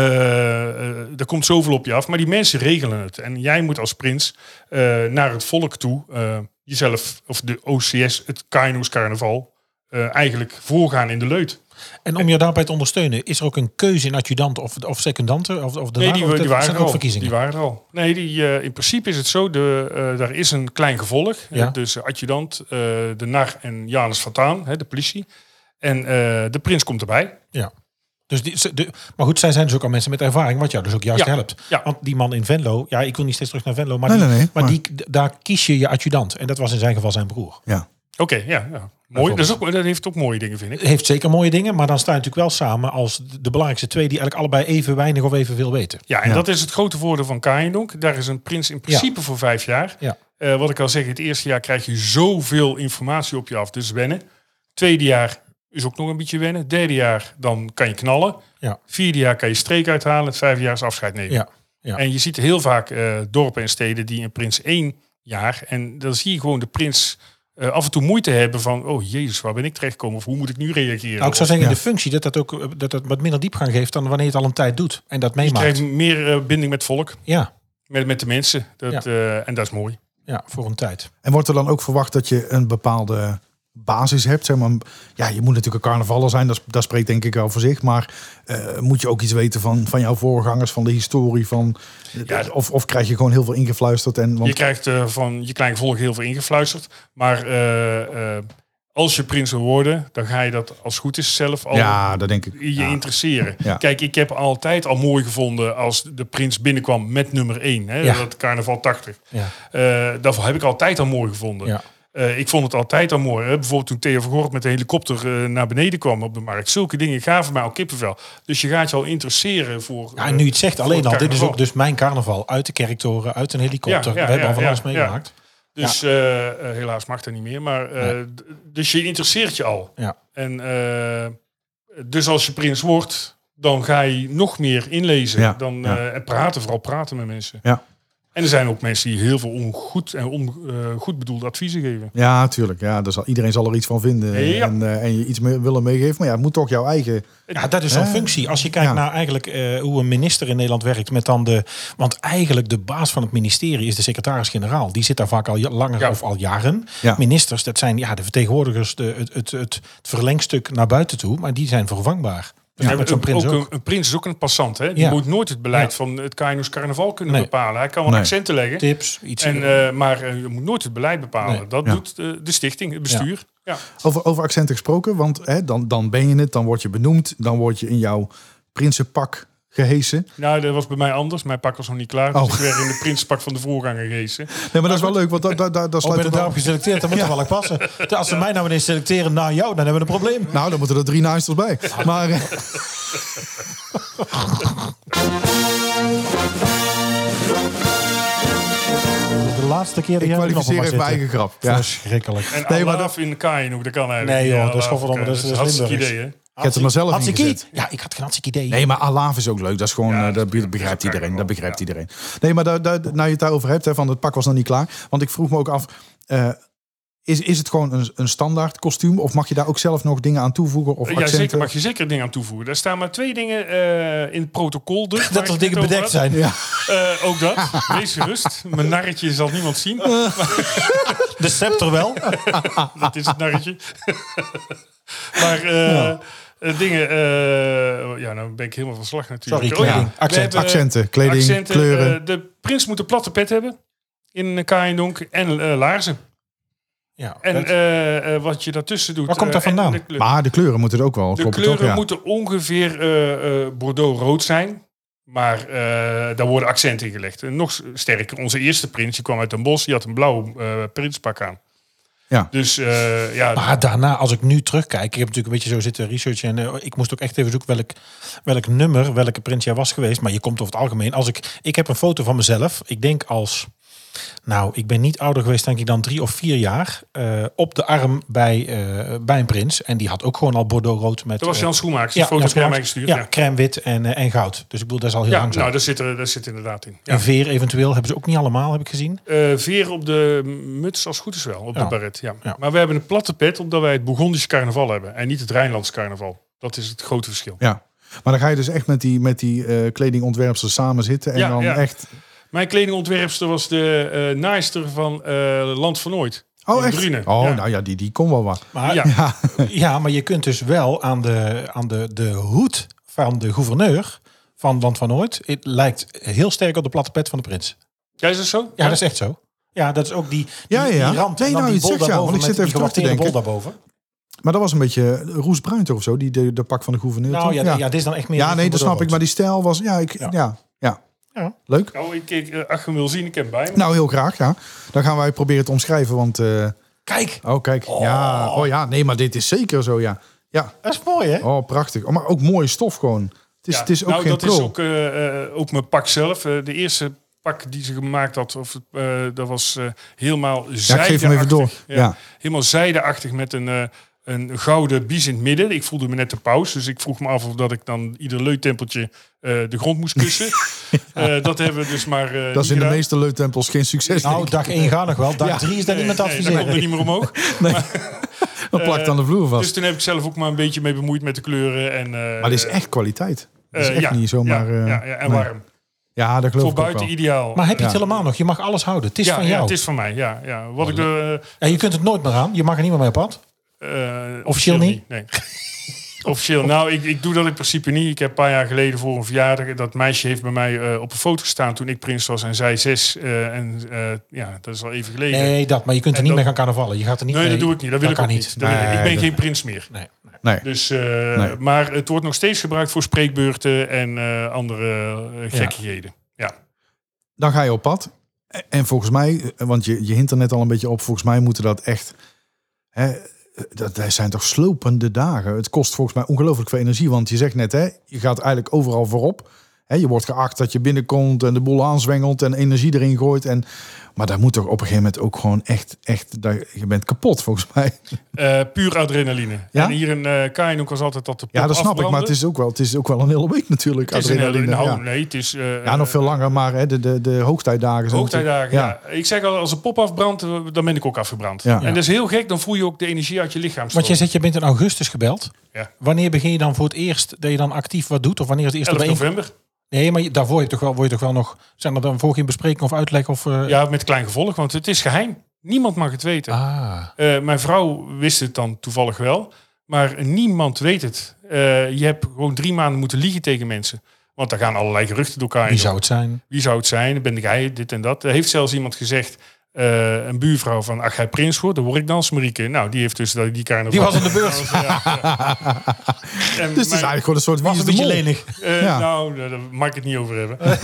Eh, eh, er komt zoveel op je af. Maar die mensen regelen het. En jij moet als prins eh, naar het volk toe eh, jezelf, of de OCS, het Kaino's carnaval, eh, eigenlijk voorgaan in de leut.
En om je daarbij te ondersteunen, is er ook een keuze in adjudanten of, of secondanten? Of, of de
Nee, die,
of dat-
die
dat
waren
zijn
er
ook
al.
verkiezingen.
Die waren er al. Nee, die, eh, in principe is het zo, de, eh, daar is een klein gevolg.
Ja.
Eh, dus adjudant, eh, de NAR en Janus Fataan, hè, de politie. En eh, de prins komt erbij.
Ja. Dus die, ze- de, maar goed, zij zijn dus ook al mensen met ervaring, wat jou dus ook juist
Ja,
helpt.
ja.
Want die man in Venlo, ja, ik wil niet steeds terug naar Venlo, maar,
Nee,
die,
nee, nee,
maar,
maar-
Die, d- daar kies je je adjudant. En dat was in zijn geval zijn broer.
Ja.
Oké, ja, ja. Mooi. Dat, is ook, dat heeft ook mooie dingen, vind ik.
Heeft zeker mooie dingen, maar dan sta je natuurlijk wel samen als de- de belangrijkste twee die eigenlijk allebei even weinig of even veel weten.
Ja, en
Ja.
dat is het grote voordeel van Kaindonk. Daar is een prins in principe voor vijf jaar.
Ja.
Eh, wat ik al zeg, het eerste jaar krijg je zoveel informatie op je af, dus wennen. Tweede jaar is ook nog een beetje wennen. Derde jaar, dan kan je knallen.
Ja.
Vierde jaar kan je streek uithalen. Het vijfde jaar is afscheid nemen.
Ja, ja.
En je ziet heel vaak eh, dorpen en steden die in Prins 1 jaar... en dan zie je gewoon de prins eh, af en toe moeite hebben van... oh jezus, waar ben ik terechtgekomen? Of hoe moet ik nu reageren?
Nou, ik zou
Of
zeggen,
Ja.
de functie dat dat ook eh, dat dat wat minder diepgang geeft dan wanneer je het al een tijd doet en dat
je
meemaakt.
krijgt meer eh, binding met volk,
Ja,
met, met de mensen. Dat, eh, en dat is mooi.
ja, voor een tijd.
En wordt er dan ook verwacht dat je een bepaalde basis hebt? Zeg maar, ja, je moet natuurlijk een carnavaller zijn, dat, is- dat spreekt denk ik al voor zich. Maar eh, moet je ook iets weten van, van jouw voorgangers, van de historie? Van, eh,
Ja,
of, of krijg je gewoon heel veel ingefluisterd? En, want,
Je krijgt eh, van je klein gevolg heel veel ingefluisterd. Maar eh, eh, als je prins wil worden, dan ga je dat als het goed is zelf al
ja, dat denk ik.
je
Ja.
interesseren.
Ja.
Kijk, ik heb altijd al mooi gevonden als de prins binnenkwam met nummer 1. Hè,
Ja.
Dat carnaval 80.
Ja.
Eh, dat heb ik altijd al mooi gevonden.
Ja.
Eh, ik vond het altijd al mooi. Hè. Bijvoorbeeld toen Theo van Gort met de helikopter eh, naar beneden kwam op de markt. Zulke dingen gaven mij al kippenvel. Dus je gaat je al interesseren voor...
Ja,
eh,
en nu je het zegt,
voor
alleen al, dit
het
is
carnaval.
ook dus mijn carnaval. Uit de kerktoren, uit een helikopter.
Ja, ja,
We hebben al
ja,
van
ja,
alles
ja.
meegemaakt.
Dus eh, eh, helaas mag dat niet meer. Maar, eh, d- Dus je interesseert je al.
Ja.
En, eh, dus als je prins wordt, dan ga je nog meer inlezen.
Ja,
Dan,
ja.
eh, en praten, vooral praten met mensen.
Ja.
En er zijn ook mensen die heel veel ongoed en on, eh, goed bedoelde adviezen geven.
Ja, tuurlijk. Ja, daar zal, iedereen zal er iets van vinden.
Ja.
En, eh, en je iets mee, willen meegeven. Maar ja, het moet toch jouw eigen...
Ja, dat is zo'n
Eh,
functie. Als je kijkt
ja.
naar eigenlijk eh, hoe een minister in Nederland werkt met dan de... Want eigenlijk de baas van het ministerie is de secretaris-generaal. Die zit daar vaak al ja- langer
Ja.
of al jaren.
Ja.
Ministers, dat zijn ja, de vertegenwoordigers, de, het, het, het verlengstuk naar buiten toe. Maar die zijn vervangbaar. Dat is met zo'n
Ook
prins ook.
Een, een prins is ook een passant. Hè? Die
Ja.
moet nooit het beleid
Ja.
van het Kainos Carnaval kunnen
Nee.
bepalen. Hij kan wel
Nee.
accenten leggen.
Tips, iets. Oh,
En, eh, maar eh, je moet nooit het beleid bepalen.
Nee.
Dat
Ja.
doet eh, de stichting, het bestuur. Ja.
Over, over accenten gesproken, want hè, dan, dan ben je het. Dan word je benoemd. Dan word je in jouw prinsenpak gehesen.
Nou, dat was bij mij anders. Mijn pak was nog niet klaar. Dus
Oh.
ik werd in de prinspak van de voorganger gehezen.
Nee, maar dat is wel leuk, want daar da, da, daar
Oh,
sluit
ben ik
het wel-
daarop geselecteerd? Dan moet het wel passen. Als ze mij nou ineens selecteren na jou, dan hebben we een probleem.
Nou, dan moeten er drie naaisters bij. Maar eh,
De laatste keer dat
ik
jij er nog op
kwalificeer
mag
even mijn
zitten.
eigen grap. Ja.
Verschrikkelijk.
En
Nee,
nee,
maar
in de Kaaienhoek, dat kan eigenlijk.
Nee, joh,
Ja,
dat is
Alaaf
gewoon-
in de
dat is-
Kaaienhoek.
dat is
hartstikke
Limburgs.
idee, hè?
Ik heb het maar zelf
Hatsikiet.
ingezet.
Ja, ik had geen hartstikke idee.
Nee, maar Alaaf is ook leuk. Dat is gewoon,
Ja,
eh,
dat
dat,
is-
be-
dat is
begrijpt
ook
iedereen. Dat
eigenlijk
begrijpt
wel,
iedereen. Nee, maar daar, daar, nou je het daarover hebt, hè, van het pak was nog niet klaar. Want ik vroeg me ook af, eh, is, is het gewoon een, een standaard kostuum? Of mag je daar ook zelf nog dingen aan toevoegen? Of
Ja,
accenten?
zeker mag je zeker dingen aan toevoegen. Daar staan maar twee dingen eh, in het protocol. Dus, waar
dat
ik
er
het
dingen
over
bedekt
had.
zijn.
Ja,
Eh, ook dat. Wees gerust. Mijn narretje zal niemand zien.
De scepter wel.
dat is het narretje. maar eh, eh, dingen... eh, ja, nou ben ik helemaal van slag natuurlijk.
Sorry, kleding.
we
Accent.
hebben-
accenten, kleding,
accenten,
kleuren.
eh, de prins moet een platte pet hebben. In eh, Kaaiendonk. En eh, laarzen.
Ja,
En
dat-
eh, eh, wat je daartussen doet.
Waar komt
eh,
dat
en
vandaan?
de kleur.
maar de kleuren moeten er ook wel.
De
klopt het
kleuren
ook, ja.
moeten ongeveer eh, eh, bordeaux-rood zijn. Maar eh, daar worden accenten in gelegd. En nog sterker, onze eerste prins, die kwam uit een bos, die had een blauw eh, prinspak aan.
Ja.
Dus eh, ja,
maar daarna, als ik nu terugkijk, ik heb natuurlijk een beetje zo zitten researchen en eh, ik moest ook echt even zoeken welk, welk nummer, welke prins jij was geweest. Maar je komt over het algemeen, als ik, ik heb een foto van mezelf, ik denk als, nou, ik ben niet ouder geweest denk ik dan drie of vier jaar, eh, op de arm bij, eh, bij een prins. En die had ook gewoon al bordeaux rood met...
dat was
eh,
Jan Schoenmakers. Die foto's
Jan
naar
Smaak.
mij gestuurd.
Ja,
Ja,
crème wit en, eh, en goud. Dus ik bedoel, dat is al heel
ja
langzaam.
nou, daar zit, er, daar zit inderdaad in. Ja.
Een veer eventueel hebben ze ook niet allemaal, heb ik gezien.
Eh, veer op de muts, als het goed is wel, op
Ja.
de baret. Ja.
Ja.
Maar we hebben een platte pet, omdat wij het Bourgondische carnaval hebben. En niet het Rijnlandse carnaval. Dat is het grote verschil.
Ja. Maar dan ga je dus echt met die, met die eh, kledingontwerpsters samen zitten. En
Ja,
dan
ja.
echt...
Mijn kledingontwerpster was de eh naaister van eh, Land van Ooit.
Oh,
in
echt?
Drunen.
Oh,
Ja.
nou ja, die, die kon wel wat.
Maar
Ja.
Ja,
Ja, maar je kunt dus wel aan de, aan de, de hoed van de gouverneur van Land van Ooit. Het lijkt heel sterk op de platte pet van de prins.
Ja, is dat zo?
Ja, dat is echt zo. Ja, dat is ook die, die,
Ja, ja, ja.
die rand
Nee,
en dan
nou, je
die bol
zegt ja,
daarboven
want ik
met
zit even
die
terug te
gewachteerde bol
denken.
daarboven.
maar dat was een beetje Roes Bruinter of zo, die de, de pak van de gouverneur.
Nou
toch?
ja, ja. dit is dan echt meer...
Ja,
richting
nee, dat snap ik. Maar
Bordeaux-rood.
die stijl was... Ja, ik,
Ja.
ja. Ja,
Ja.
Leuk.
Nou, ik, ik, eh, ach, je wil zien, ik heb hem bij me.
Nou, heel graag, ja. Dan gaan wij proberen te omschrijven, want... eh,
Kijk,
oh, kijk. Ja, oh ja. Nee, maar dit is zeker zo, ja. Ja,
dat is mooi hè?
oh, prachtig. Oh, maar ook mooie stof gewoon. Dus Het is,
Ja,
het is ook
nou,
geen
dat
prul.
is ook, eh, eh, ook mijn pak zelf. Eh, de eerste pak die ze gemaakt had. Of, eh, dat was eh, helemaal
Ja, ik geef hem even door. Ja.
ja. helemaal zijdeachtig met een, eh, een gouden bies in het midden. Ik voelde me net de paus, dus ik vroeg me af of dat ik dan ieder leutempeltje eh, de grond moest kussen. Eh, dat hebben we dus maar. eh,
Dat
niet
is in de
gedaan.
meeste leutempels geen succes.
Nou, dag 1 gaat nog wel. Dag 3 is daar
Nee,
niet met te
nee, daar
adviseren.
komt er niet meer omhoog.
dat plakt aan de vloer vast.
Dus toen heb ik zelf ook maar een beetje mee bemoeid met de kleuren. En, eh,
maar dit is echt kwaliteit. Dat is
eh,
echt
ja,
niet zomaar...
Ja,
eh,
ja, ja, en
nee.
warm.
Ja, dat
Voor
geloof ik ook wel.
buiten ideaal.
Maar heb je het
Ja.
helemaal nog? Je mag alles houden. Het is
ja,
van
ja,
jou.
het is van mij. Ja, ja. Wat ik eh, de,
En je kunt het nooit meer aan. Je mag er niet meer mee op pad.
Eh,
Officieel niet?
Nee. Officieel. Nou, ik, ik doe dat in principe niet. Ik heb een paar jaar geleden voor een verjaardag... dat meisje heeft bij mij eh, op een foto gestaan toen ik prins was en zij zes. Eh, en eh, ja, dat is al even geleden. Nee,
Nee, dat. Maar je kunt er
En
niet
dat-
mee gaan carnavallen. Je gaat er niet mee.
dat doe ik niet. Dat wil ik
kan
ook niet. Dat wil ik- ik
Nee,
ben
dat-
geen prins meer.
Nee.
Nee.
Dus, eh,
Nee.
Maar het wordt nog steeds gebruikt voor spreekbeurten en eh, andere eh, gekkigheden. Ja.
Dan ga je op pad. En- En volgens mij, eh, want je, je hint er net al een beetje op, volgens mij moeten dat echt... Hè, dat, dat zijn toch slopende dagen. Het kost volgens mij ongelooflijk veel energie. Want je zegt net, hè, je gaat eigenlijk overal voorop. Hè, je wordt geacht dat je binnenkomt en de boel aanzwengelt en energie erin gooit. En, maar daar moet toch op een gegeven moment ook gewoon echt... echt daar, je bent kapot volgens mij.
Eh, puur adrenaline.
Ja?
En hier in eh Kainhoek was altijd dat de
Ja,
pop
dat snap ik. Maar
afbrandde.
het is ook wel, het is ook wel een hele week natuurlijk.
Het is een hele-
adrenaline,
nou,
ja.
nee, het is... eh,
ja, nog veel langer, maar hè, de, de, de hoogtijdagen. zijn
Hoogtijdagen,
natuurlijk-
ja. Ik zeg al, als een pop afbrandt, eh, dan ben ik ook afgebrand.
Ja.
En dat is heel gek, dan voel je ook de energie uit je lichaam
Want
stromen.
jij zegt, je bent in augustus gebeld.
Ja.
Wanneer begin je dan voor het eerst dat je dan actief wat doet? Of wanneer is het eerste
11
bijeen-
november.
Nee, maar je- daarvoor heb je toch wel, word je toch wel nog... Zijn er dan voor geen bespreking of uitleg? Of, eh,
Ja, met klein gevolg, want het is geheim. Niemand mag het weten.
Ah.
Eh, mijn vrouw wist het dan toevallig wel, maar niemand weet het. Eh, je hebt gewoon drie maanden moeten liegen tegen mensen. Want daar gaan allerlei geruchten door elkaar.
Wie
heen.
zou het zijn?
Wie zou het zijn? Ben ik hij? Dit en dat. Er heeft zelfs iemand gezegd, eh, een buurvrouw van, ach, jij prins wordt, dan word ik dan Marieke. Nou, die heeft dus dat- die carnaval.
Die was aan de beurt.
Ja, ja. En
Dus het is
mijn-
eigenlijk gewoon een soort wie
Was
is
een
de
beetje
mol?
lenig.
Eh,
Ja.
Nou, daar daar mag ik het niet over hebben.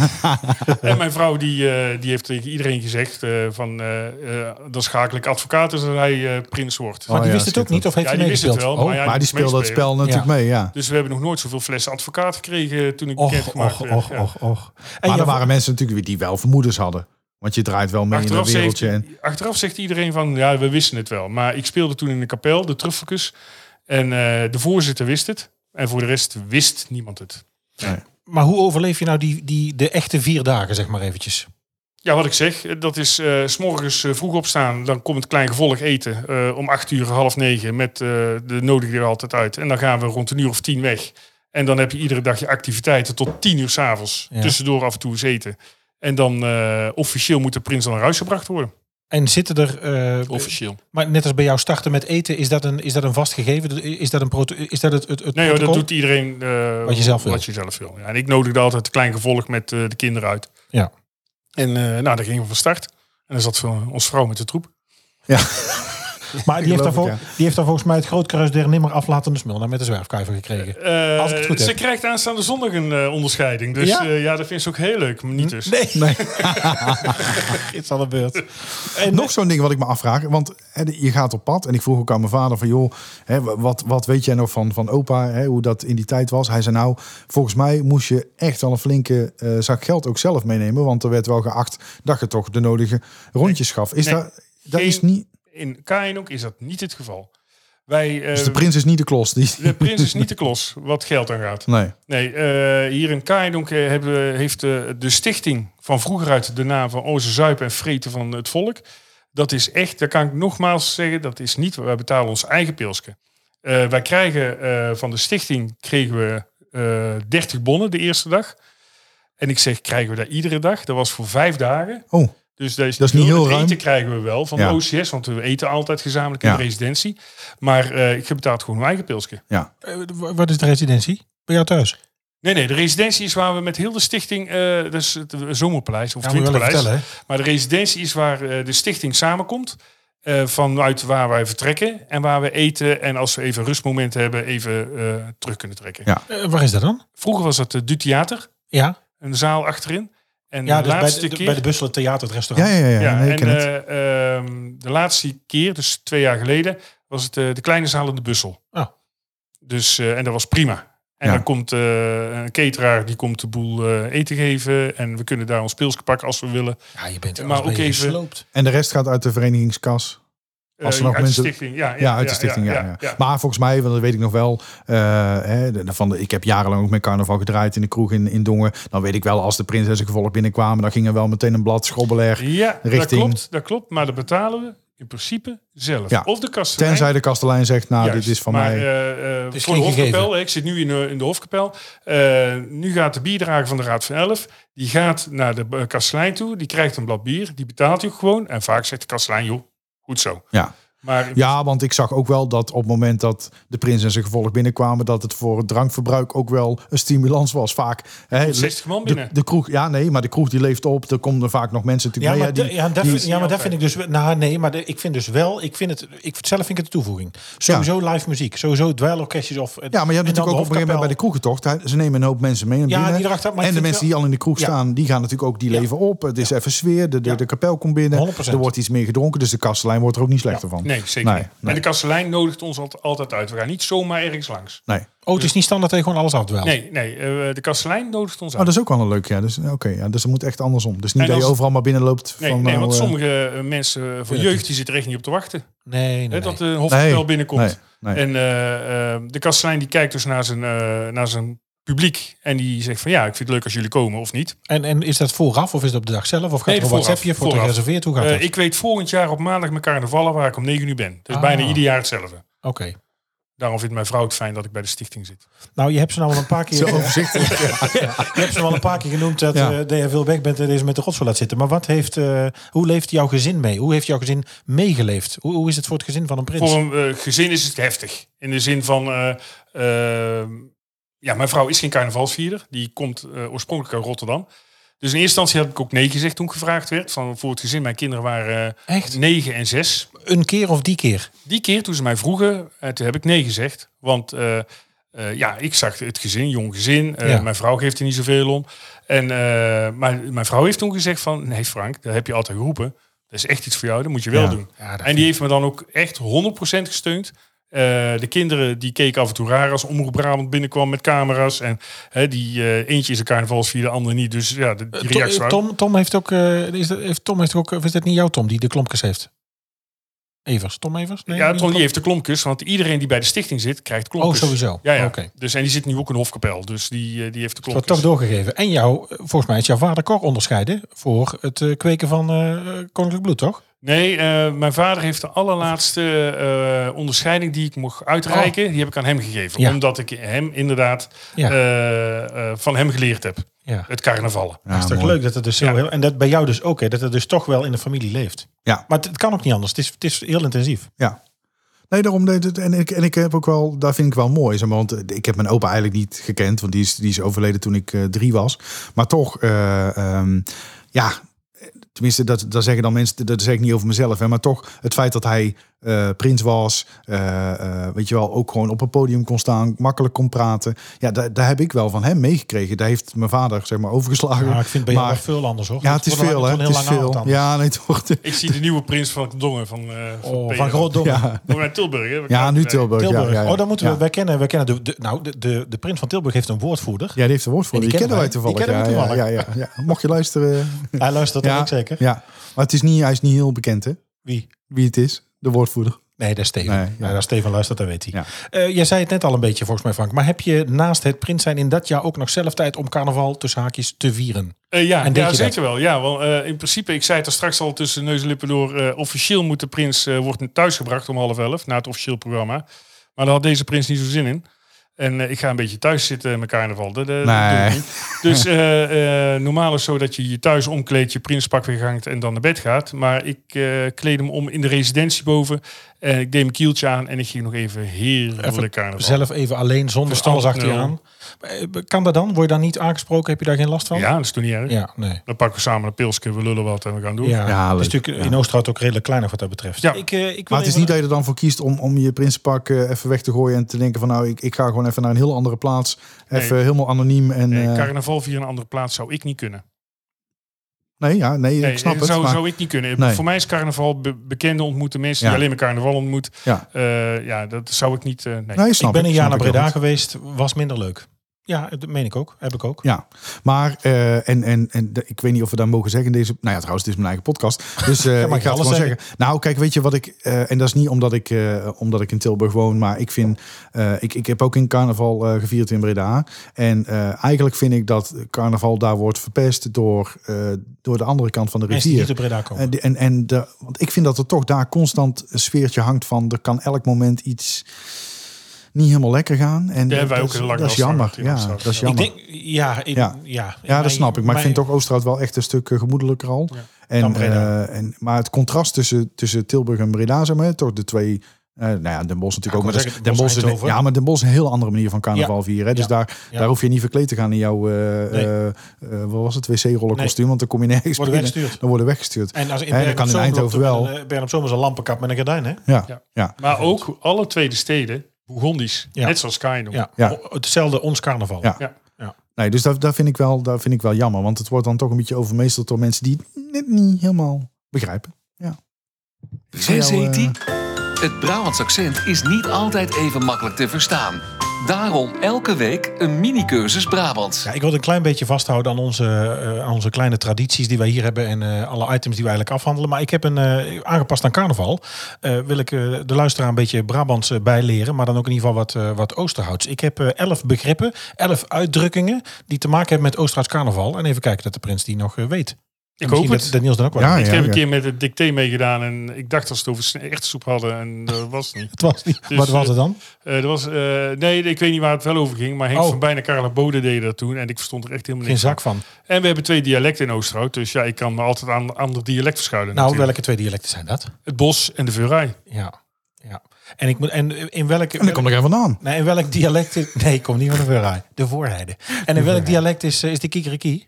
en mijn vrouw die, eh, die heeft tegen iedereen gezegd eh, van eh, eh, dan schakel ik advocaat als hij eh, prins wordt.
Maar
Oh
die
ja,
wist het ook
schitterend.
niet of heeft
ja,
hij
die wist het
meegespeeld?
wel.
Oh.
maar, ja,
maar die
moest
speelde dat
meespelen.
spel natuurlijk
Ja.
mee, ja.
Dus we hebben nog nooit zoveel flessen advocaat gekregen toen ik
Oh, Och,
bekendgemaakt
och,
werd.
och,
eh, Ja.
och, och. En
Maar
ja,
er waren mensen natuurlijk die wel vermoedens hadden. Want je draait wel mee
Achteraf
in een
zegt,
wereldje. En,
achteraf zegt iedereen van ja, we wisten het wel. Maar ik speelde toen in de kapel, de Truffelkus. En eh, de voorzitter wist het. En voor de rest wist niemand het.
Maar hoe overleef je nou die, die, de echte vier dagen, zeg maar eventjes?
Ja, wat ik zeg, dat is eh, s morgens eh, vroeg opstaan. Dan komt het klein gevolg eten eh, om acht uur, half negen. Met eh, de nodige er altijd uit. En dan gaan we rond een uur of tien weg. En dan heb je iedere dag je activiteiten tot tien uur s'avonds.
Ja.
Tussendoor af en toe eens eten. En dan eh, officieel moet de prins dan naar huis gebracht worden.
En zitten er... eh,
Officieel.
Maar net als bij jou starten met eten, is dat een, is dat een vast gegeven? Is dat, een proto- is dat het, het, het
Nee, hoor,
protocol?
dat doet iedereen eh,
Wat je zelf wil.
Wat je zelf wil. Ja, en ik nodigde altijd het klein gevolg met eh, de kinderen uit.
Ja.
En eh, nou, daar gingen we van start. En dan zat eh, ons vrouw met de troep.
Maar die heeft,
geloof
dan
het,
vol- die heeft dan volgens mij het groot kruis der nimmer aflatende smulna met de zwerfkuiver gekregen.
Eh,
Als ik het goed
ze
heb.
krijgt aanstaande zondag een eh, onderscheiding. Dus
Ja? Hm.
ja? ja, dat vindt ze ook heel leuk. Maar niet dus.
Nee. nee. is aan de beurt. En
nog zo'n ding wat ik me afvraag. Want hè, je gaat op pad. En ik vroeg ook aan mijn vader van... joh, hè, wat, wat weet jij nog van, van opa? Hè, hoe dat in die tijd was? Hij zei nou, volgens mij moest je echt wel een flinke eh, zak geld ook zelf meenemen. Want er werd wel geacht dat je toch de nodige rondjes gaf. Is
Nee.
dat, dat
Geen-
is niet...
In Kainok is dat niet het geval. Wij, eh,
Dus de prins is niet de klos. Die,
de prins is niet de klos wat geld aangaat.
nee.
Nee, eh, hier in Kainonk heeft eh, de stichting van vroeger uit de naam van Oze Zuipen en Vreten van het Volk. Dat is echt, dat kan ik nogmaals zeggen, dat is niet. Wij betalen ons eigen pilsje. Eh, wij krijgen eh, van de stichting kregen we eh 30 bonnen de eerste dag. En ik zeg, krijgen we dat iedere dag? Dat was voor vijf dagen.
Oh,
Dus dat is,
Dat is niet
nul.
heel
Het
ruim.
eten krijgen we wel van
Ja.
de OCS, want we eten altijd gezamenlijk in
Ja.
de residentie. Maar eh ik betaal gewoon mijn eigen pilsje.
eh, w- wat is de residentie? Bij jou thuis?
Nee, nee, de residentie is waar we met heel de stichting, eh dat is het eh, zomerpaleis of
Ja, moet je wel even
winterpaleis.
vertellen. hè?
maar de residentie is waar eh, de stichting samenkomt. eh, vanuit waar wij vertrekken en waar we eten. En als we even rustmomenten hebben, even eh, terug kunnen trekken.
Ja.
Eh, waar is dat dan?
Vroeger was dat eh, Du Theater,
Ja,
een zaal achterin. En
ja
de
dus bij,
laatste
de,
keer.
bij de Busselen Theater, het
ja,
restaurant.
ja, ja.
Ja,
ja, nee, ik
en
ken het.
eh, ehm, de laatste keer, dus twee jaar geleden, was het eh, de kleine zaal in de Bussel.
Ja.
Dus, eh, en dat was prima. En
Oh. Ja.
dan komt eh, een cateraar die komt de boel eh, eten geven. En we kunnen daar ons pilsje pakken als we willen.
Ja, je bent er
Maar
maar ook
ook even-
gesloopt.
En de rest gaat uit de verenigingskas.
Eh,
Als er nog
uit
mensen-
de stichting. Ja, ja,
Ja, uit de stichting. Ja, ja. Maar volgens mij, want dat weet ik nog wel. eh, hè, de- de- van de, ik heb jarenlang ook met carnaval gedraaid in de kroeg in, in Dongen. Dan weet ik wel, als de prinsessen gevolg binnenkwamen, dan ging er wel meteen een blad schrobbeler.
Ja, dat,
richting-
klopt, dat klopt. Maar dat betalen we in principe zelf.
Ja.
Of de kastelein.
Tenzij de kastelein zegt, nou,
Juist,
dit is van
maar,
mij.
eh, eh,
is
voor de
geen gegeven.
Hofkapel, hè, ik zit nu in, eh, in de Hofkapel. Eh, nu gaat de bierdrager van de Raad van Elf. Die gaat naar de eh, kastelein toe. Die krijgt een blad bier. Die betaalt hij ook gewoon. En vaak zegt de kastelein, joh, goed zo.
Ja.
Maar
Ja, want ik zag ook wel dat op het moment dat de prins en zijn gevolg binnenkwamen, dat het voor het drankverbruik ook wel een stimulans was. Vaak. Hè,
60 man
de,
binnen.
de kroeg, ja, nee, maar de kroeg die leeft op. Er komen er vaak nog mensen
Ja,
natuurlijk
maar,
mee. hè,
de-
die,
ja, dat,
die-
vind- ja, maar dat vind ik
altijd.
dus... wel- Nou, nee, maar de- ik vind dus wel... Ik vind het, ik, vind- zelf vind ik het een toevoeging. Sowieso live muziek. Sowieso dweilorkestjes of...
ja, maar je hebt natuurlijk ook op een gegeven moment bij de kroegentocht. hè, Ze nemen een hoop mensen mee naar
Ja,
binnen.
die erachter, maar ik
en de
vind
mensen
wel-
die al in de kroeg
Ja.
staan, die gaan natuurlijk ook die leven op. Het is even sfeer. De, de, de kapel komt binnen.
100%.
Er wordt iets meer gedronken. Dus de kastlijn wordt er ook niet slechter van.
Nee, zeker
Nee,
niet.
nee.
En de kastelein nodigt ons al- altijd uit. We gaan niet zomaar ergens langs.
Nee. Maar
Oh, het is niet standaard dat je gewoon alles afdweilt.
Nee, nee eh, de kastelein nodigt ons
Oh, dat
uit.
is ook wel een leuk. Ja, dus, oké ja, dus dat moet echt andersom. Dus niet
En
dat je
als-
overal maar binnenloopt.
Nee,
van,
nee,
nou,
want
eh,
sommige eh, mensen eh, van jeugd die zitten er echt niet op te wachten.
nee, nee.
Hè,
nee.
dat de Hofkapel
Nee,
binnenkomt.
nee, nee.
En eh, eh, de kastelein die kijkt dus naar zijn, eh, naar zijn publiek. En die zegt van ja, ik vind het leuk als jullie komen of niet.
En, en is dat vooraf of is dat op de dag zelf? Of gaat
Nee,
er een
vooraf,
WhatsAppje voor
vooraf.
gereserveerd? Hoe gaat
Eh,
dat?
ik weet volgend jaar op maandag mijn carnavallen waar ik om 9 uur ben. Dus
Ah.
bijna ieder jaar hetzelfde.
Oké.
Daarom vindt mijn vrouw het fijn dat ik bij de stichting zit.
Nou, je hebt ze nou al een paar keer... overzichtelijk. Je hebt ze al een paar keer genoemd dat,
Ja.
eh, dat je veel weg bent en deze met de rotzooi laat zitten. Maar wat heeft, eh, hoe leeft jouw gezin mee? Hoe heeft jouw gezin meegeleefd? Hoe, hoe is het voor het gezin van een prins?
Voor een eh, gezin is het heftig. In de zin van... eh, eh, ja, mijn vrouw is geen carnavalsvierder. Die komt eh, oorspronkelijk uit Rotterdam. Dus in eerste instantie heb ik ook nee gezegd toen ik gevraagd werd. Van, voor het gezin, mijn kinderen waren eh,
Echt?
9 en 6.
Een Eh, keer of die keer?
Die keer toen ze mij vroegen, eh, toen heb ik nee gezegd. Want eh, eh, ja, ik zag het gezin, jong gezin. Eh,
Ja.
Mijn vrouw geeft er niet zoveel om. En, eh, maar mijn vrouw heeft toen gezegd van... Nee Frank, dat heb je altijd geroepen. Dat is echt iets voor jou, dat moet je wel
Ja.
doen.
Ja, dat
en die heeft me dan ook echt 100% gesteund. Eh, de kinderen die keken af en toe raar als Omroep Brabant binnenkwam met camera's. En hè, die eh, eentje is een carnavalsvier, de ander niet. Dus ja, de, die
To- eh,
reactie waren-
Tom, Tom heeft ook, eh, is dat, heeft Tom heeft ook, of is dat niet jouw Tom die de klompjes heeft? Evers, Tom Evers? Nee,
Ja,
niet
Tom die
Klomp-
heeft de klompjes, want iedereen die bij de stichting zit, krijgt klompjes.
Oh, sowieso.
Ja, ja.
Oké.
Dus, en die zit nu ook in de Hofkapel, dus die, eh, die heeft de
Het wordt toch
klompjes.
doorgegeven. En jou, eh, volgens mij is jouw vader Cor onderscheiden voor het eh, kweken van eh, koninklijk bloed, toch?
Nee, eh, mijn vader heeft de allerlaatste eh, onderscheiding die ik mocht uitreiken, die heb ik aan hem gegeven.
Oh. Ja.
Omdat ik hem inderdaad
Ja.
eh, eh, van hem geleerd heb,
Ja.
het carnavallen.
Ja,
is toch
mooi.
leuk dat het dus zo
Ja.
heel... En dat bij jou dus ook, hè, dat het dus toch wel in de familie leeft.
Ja.
Maar het, het kan ook niet anders. Het is, het is heel intensief.
Ja. Nee, daarom deed het. En ik, en ik heb ook wel, daar vind ik wel mooi. Zeg maar, want eh, ik heb mijn opa eigenlijk niet gekend, want die is, die is overleden toen ik eh, drie was. Maar toch, eh, ehm, ja, eh, tenminste, dat, dat zeggen dan mensen, dat zeg ik niet over mezelf, hè, maar toch het feit dat hij eh, prins was, eh, eh, weet je wel, ook gewoon op een podium kon staan, makkelijk kon praten. Ja, daar, daar heb ik wel van hem meegekregen. Daar heeft mijn vader, zeg maar, overgeslagen.
Maar ik vind bij jou
Maar-
nog veel anders, hoor.
ja,
Dat
het is
wordt
veel,
een-
hè?
wordt
Het
een
is
heel lange
veel.
avond dan.
Ja, nee, toch.
Ik zie de nieuwe prins van Dongen van, eh van,
Oh,
Peter.
van Grootdongen.
Ja,
Volgens mij Tilburg. Hè? We
ja
gaan-
nu
eh,
Tilburg. ja,
Tilburg.
ja, ja.
Oh, dan moeten we...
Ja.
Wij kennen, wij kennen de, de, nou, de, de, de prins van Tilburg heeft een woordvoerder.
Ja, die heeft een woord voor.
En
Die,
die
kennen wij
kennen wij.
toevallig.
Die kennen we
ja, ja, ja, ja, ja. Mocht je luisteren. eh,
Hij luistert dat
ja,
ook zeker.
Ja. Maar het is niet, hij is niet heel bekend, hè?
Wie?
Wie het is, de woordvoerder.
Nee, dat is Steven.
Nee,
Nee,
ja.
dat is Steven luistert, dat weet hij.
Ja.
Eh, jij zei het net al een beetje, volgens mij Frank. Maar heb je naast het prins zijn in dat jaar ook nog zelf tijd om carnaval tussen haakjes te vieren?
Eh, ja,
En deed
ja
je dat?
zeker wel. Ja, want eh, in principe, ik zei het er straks al tussen neus en lippen door. eh, officieel moet de prins eh wordt thuisgebracht om half elf na het officieel programma. Maar daar had deze prins niet zo zin in. En eh, ik ga een beetje thuis zitten in mijn carnaval. Dat, eh, dat
Nee.
doe ik niet. Dus eh, eh, normaal is het zo dat je je thuis omkleedt, je prinspak weer hangt en dan naar bed gaat. Maar ik eh kleed hem om in de residentie boven. En ik deed mijn kieltje aan en ik ging nog even heerlijk carnaval.
Zelf even alleen, zonder
Verstand
alles achter je
nul.
aan. Eh, Kan dat dan? Word je daar niet aangesproken? Heb je daar geen last van?
Ja, dat is toen niet erg.
Ja, nee.
Dan pakken we samen een pilsje, we lullen wat en we gaan doen.
Ja,
Ja,
het is
leuk.
natuurlijk in Oosterhout ook redelijk klein nog wat dat betreft.
Ja.
Ik, eh, ik wil
Maar het is
even-
niet dat je er dan voor kiest om, om je prinsenpak eh, even weg te gooien en te denken van nou, ik, ik ga gewoon even naar een heel andere plaats. Even
Nee.
helemaal anoniem en...
Nee,
eh,
carnaval via een andere plaats zou ik niet kunnen.
Nee, ja, nee,
Nee,
ik snap het.
zou,
maar-
zou ik niet kunnen.
Nee.
Voor mij is carnaval be- bekende ontmoeten mensen
Ja.
die alleen maar carnaval ontmoet.
Ja.
Eh, ja, dat zou ik niet. eh, nee.
Nee, snap
ik ben een jaar
snap
naar
ik heel
Breda
goed.
geweest, was minder leuk. Ja, dat meen ik ook. Heb ik ook.
Ja, maar eh, en, en, en de- ik weet niet of we dat mogen zeggen in deze. Nou ja, trouwens, dit is mijn eigen podcast. Dus eh, ik ga
mag
het gewoon
alles
zeggen.
zeggen.
Nou, kijk, weet je wat ik. eh, en dat is niet omdat ik, eh, omdat ik in Tilburg woon, maar ik vind. eh, ik, ik heb ook in carnaval eh, gevierd in Breda. En eh, eigenlijk vind ik dat carnaval daar wordt verpest door, eh, door de andere kant van de
Mensen die niet
rivier.
op Breda komen.
En, de- en, en de, want ik vind dat er toch daar constant een sfeertje hangt van er kan elk moment iets niet helemaal lekker gaan. En
hebben wij
dat
ook
is-
heel lang
Dat is
last van
jammer.
gehad hier op
Ja,
straat.
dat is
Ja.
ik
jammer.
denk, ja, ik-
Ja.
ja.
Ja, dat
Mijn-
snap ik. Maar
mijn-
ik vind toch Oosterhout wel echt een stuk eh, gemoedelijker al. En,
Dan Breda.
eh, en, maar het contrast tussen, tussen Tilburg en Breda, zeg maar, toch de twee... eh, nou ja, Den Bosch natuurlijk ook.
Ja, ik
Maar
wou
dat is- Den
zeggen, Den
Bosch is een-
Bosch
ja,
Eindhoven.
maar Den Bosch is een heel andere manier van carnaval
Ja.
vieren. hè. Dus
Ja.
daar,
Ja.
daar hoef je niet verkleed te gaan in jouw... eh
Nee.
eh, eh, wat was het? Wc-rollen kostuum. Want dan kom je nergens
Worden
binnen.
weggestuurd.
Dan worden we weggestuurd.
En als in
Hè, dat
Bern
kan
op
in
Zoom
Eindhoven
loopt er
wel.
een, eh, Bern op Zoom is een lampenkap met een gordijn, hè?
Ja, ja.
Ja. Maar ook alle tweede steden, Burgondisch,
Ja.
net zoals Kaino.
Ja.
Ja.
O- Hetzelfde ons carnaval.
Ja. Nee, dus dat, dat, vind ik wel, dat vind ik wel jammer. Want het wordt dan toch een beetje overmeesterd door mensen die het net niet helemaal begrijpen.
Zes
jou,
heet
eh,
die. Het Brabants accent is niet altijd even makkelijk te verstaan. Daarom elke week een mini-cursus Brabants.
Ja, ik wil het een klein beetje vasthouden aan onze, eh, aan onze kleine tradities die wij hier hebben en eh, alle items die we eigenlijk afhandelen. Maar ik heb een, eh, aangepast aan carnaval, eh, wil ik eh, de luisteraar een beetje Brabants eh, bijleren, maar dan ook in ieder geval wat, eh, wat Oosterhouts. Ik heb eh, elf begrippen, elf uitdrukkingen die te maken hebben met Oosterhouts carnaval. En even kijken dat de prins die nog eh, weet. En misschien
hoop het.
Dat, dat Niels dan ook wel.
Ja,
weet.
Ik heb
ja.
een keer met het dicté meegedaan en ik dacht dat ze het over sne- echte soep hadden en dat was het niet.
Het was niet.
Dus,
wat was het dan?
Eh, dat was, eh, nee, ik weet niet waar het wel over ging, maar Henk
Oh.
van Bijna Carla Bode deed dat toen en ik verstond er echt helemaal
Geen
niks
zak van. Nou,
van. En we hebben twee dialecten in Oosterhout, dus ja, ik kan me altijd aan een ander dialect verschuilen.
Nou,
natuurlijk.
welke twee dialecten zijn dat?
Het bos en de veurij.
Ja. ja. En, ik moet, en in welke...
En dan kom ik er vandaan.
Nee, in welk dialect... is- Nee, ik kom niet van de Veurij. De Voorheide. En in welk dialect is, eh, is de kiekeriki?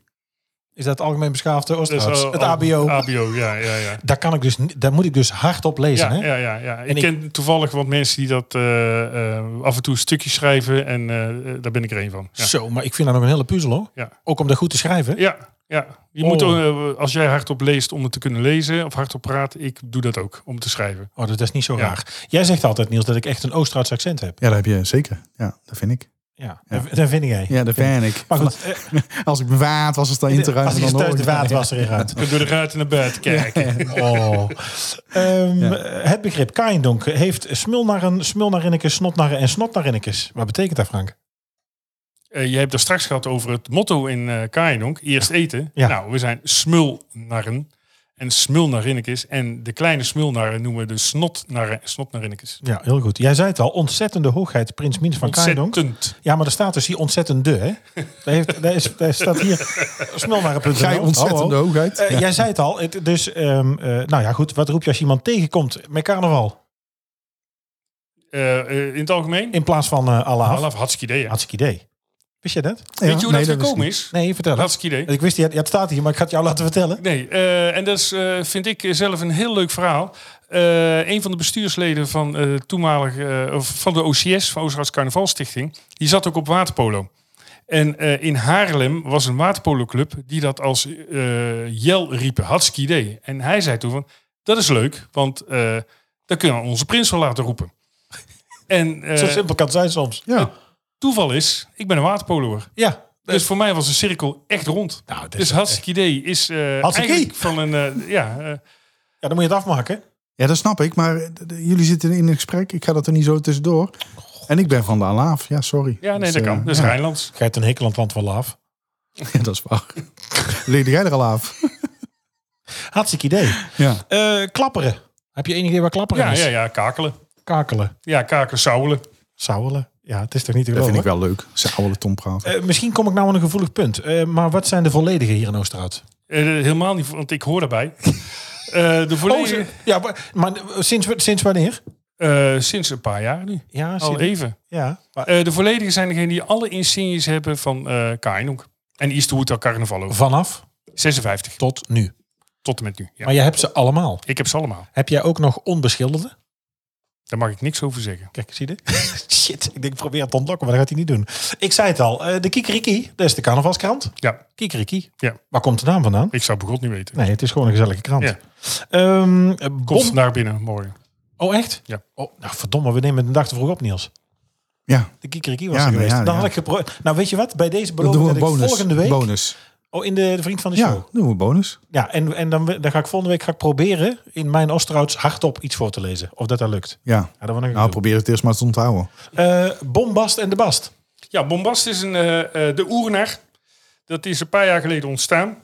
Is dat algemeen beschaafde
Dus,
Oosterhouts?
eh,
het
al-
ABO.
ABO, ja, ja, ja.
Daar, kan ik dus, niet- daar moet ik dus hardop lezen,
Ja,
hè?
ja, ja, ja. Ik,
ik-
ken toevallig wat mensen die dat eh, eh, af en toe stukjes schrijven en eh, eh, daar ben ik er een van. Ja,
Zo, maar ik vind dat nog een hele puzzel, hoor.
Ja.
Ook om dat goed te schrijven.
ja. ja. Je
Oh.
moet, eh, als jij hardop leest om het te kunnen lezen of hardop praat, ik doe dat ook om te schrijven.
Oh, dat is niet zo
Ja.
raar. Jij zegt altijd, Niels, dat ik echt een Oosterhouts accent heb.
Ja, dat heb je zeker. Ja, dat vind ik.
Ja, Dat, dat vind jij.
Ja, dat vind ik.
Maar goed, eh,
Als ik bewaard was, als dat in te
als
ruimen,
ik eens
dan
thuis
hoor
de
ik het.
vaatwasser in gaat.
Ik ben door de ruiten naar buiten kijken.
Oh. Ehm,
Ja.
Het begrip Kaindonk heeft smulnarren, smulnarinnekes, snotnarren en snotnarinnekes. Wat betekent dat, Frank?
Eh, je hebt daar straks gehad over het motto in eh Kaaienonk. Eerst eten.
Ja.
Nou, we zijn smulnarren. En smulnarinnekes. En de kleine smulnarren noemen we de snotnarren en snotnarinnekes.
Ja, heel goed. Jij zei het al, ontzettende hoogheid Prins Mins van Kaindonk.
Ontzettend.
Ja, maar er staat dus hier ontzettende, hè? Daar, heeft, daar, is, daar staat hier smulnarren.nl.
Gij ontzettende
Hallo.
hoogheid.
Eh, Jij zei het al, het, dus ehm, eh, nou ja goed, wat roep je als je iemand tegenkomt met carnaval?
Eh, eh, in het algemeen?
In plaats van eh Allah.
Half, hartstikke idee. hè.
Hartstikke idee. Wist je dat?
Ja,
Weet je hoe
nee,
dat
wist
gekomen
ik
is?
Nee, vertel het.
Hartstikke idee.
Ik wist, ja, het staat hier, maar ik ga het jou laten vertellen.
Nee, eh, en dat is, eh, vind ik zelf een heel leuk verhaal. Eh, een van de bestuursleden van, eh, toenmalig, eh, of van de OCS, van Oosterhouts Carnavalstichting, die zat ook op waterpolo. En eh, in Haarlem was een waterpoloclub die dat als eh, jel riepen, hartstikke idee. En hij zei toen van, dat is leuk, want eh dat kunnen we onze prins wel laten roepen. En eh,
Zo simpel kan het zijn soms.
Ja.
toeval is, ik ben een waterpoloer.
Ja.
Dus voor mij was de cirkel echt rond.
Nou, dat is
Dus
echt-
hartstikke idee is eh
Hartstikke
eigenlijk van een... eh, ja, eh,
Ja, dan moet je het afmaken.
ja, dat snap ik. Maar d- d- jullie zitten in een gesprek. Ik ga dat er niet zo tussendoor. En ik ben van de Alaaf. Ja, sorry.
Ja, nee,
Dus,
dat
eh,
kan. Dat is
ja,
Rijnlands.
Geit een hekel aan het land van laaf.
ja, dat is waar. Leerde jij er al af?
Hartstikke idee.
Ja.
Eh, klapperen. Heb je enig idee waar klapperen
Ja,
is?
ja, ja, kakelen.
Kakelen.
Ja, kakelen, sauwelen.
Sauwelen. Ja, het is toch niet te
Dat
geloven?
vind ik wel leuk. Ze oude Tom praten.
Eh, misschien kom ik nou aan een gevoelig punt. Eh, maar wat zijn de volledige hier in Oosterhout?
Eh, helemaal niet, want ik hoor daarbij. Eh, de volledige...
Oh, ze- ja, maar, maar eh, sinds, wa- sinds wanneer?
eh, sinds een paar jaar nu.
Ja,
Al
sinds-
even.
ja. Maar,
Eh, de volledige zijn degenen die alle insignes hebben van eh Kainhoek. En Eastwood al carnaval over.
vanaf
56
tot nu.
tot en met nu. Ja.
Maar jij hebt ze allemaal.
Ik heb ze allemaal.
Heb jij ook nog onbeschilderde?
Daar mag ik niks over zeggen.
Kijk, zie je? dit? Shit, ik denk ik probeer het te ontlokken, maar dat gaat hij niet doen. Ik zei het al, eh, de Kikeriki, dat is de carnavalskrant.
Ja,
Kikeriki.
Ja.
Waar komt de naam vandaan?
ik zou begot niet weten.
Nee, het is gewoon een gezellige krant.
Ja.
Ehm, eh,
Komt
bom...
naar binnen morgen.
Oh, echt?
Ja.
Oh, nou, verdomme, we nemen het een dag te vroeg op, Niels.
Ja,
De Kikeriki was
Ja,
er
maar
geweest.
ja,
Dan had
ja.
ik gepro... Nou, weet je wat? Bij deze
dat
beloof ik
doen we
dat ik
bonus.
volgende week...
Bonus.
Oh, in de, de Vriend van de Show.
Ja, doen we bonus.
Ja, en, en dan, dan ga ik volgende week ga ik proberen in mijn Osterhouds hardop iets voor te lezen. Of dat dat lukt.
Ja.
Ja, dat wil ik
Nou,
nou,
probeer het eerst maar te onthouden.
Eh, Bombast en de Bast.
Ja, Bombast is een, eh, eh, de oernaar. Dat is een paar jaar geleden ontstaan.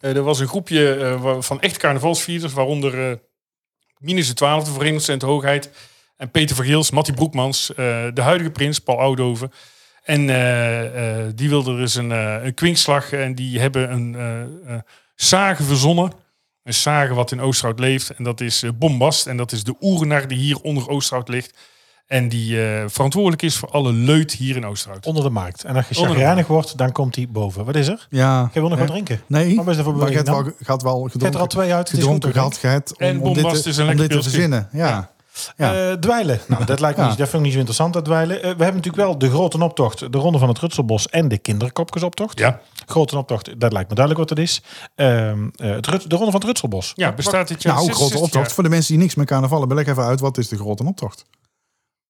Eh, er was een groepje eh, wa- van echte carnavalsvierders, waaronder eh, Minus de Twaalfde, Verenigd Cent Hoogheid. En Peter Vergeels, Mattie Broekmans, eh, de huidige prins, Paul Oudoven. En eh, eh, die wilden dus een, eh een kwinkslag en die hebben een eh eh zagen verzonnen. Een zagen wat in Oosterhout leeft. En dat is eh, Bombast. En dat is de oernaar die hier onder Oosterhout ligt. En die eh, verantwoordelijk is voor alle leut hier in Oosterhout.
Onder de markt. En als je
Onder de
chagrijnig wordt, dan komt hij boven. Wat is er?
Ja.
Jij wil nog
Ja.
wat drinken?
Nee,
Wat is er voor
maar je hebt wel,
bedoeling?
je had wel
Ik heb er al
gedronken,
twee uit. Het is goed.
gedronken
hoor.
gehad. je hebt Om,
En
om dit,
Bombast
te-
dus
is een
om
lekker
dit te
pilsje.
verzinnen. Ja. Ja.
Eh, dwijlen. Nou, dat lijkt me
Ja.
niet, dat vind ik niet zo interessant, dat dwijlen. Eh, we hebben natuurlijk wel de grote optocht, de Ronde van het Rutselbos en de kinderkopjesoptocht.
Ja,
Grote optocht, dat lijkt me duidelijk wat het is. Ehm, eh, het Rut- de Ronde van het Rutselbos.
ja bestaat dit jaar.
Nou,
sinds
grote
60
optocht.
jaar.
Voor de mensen die niks met carnaval hebben, leg even uit wat is de grote optocht.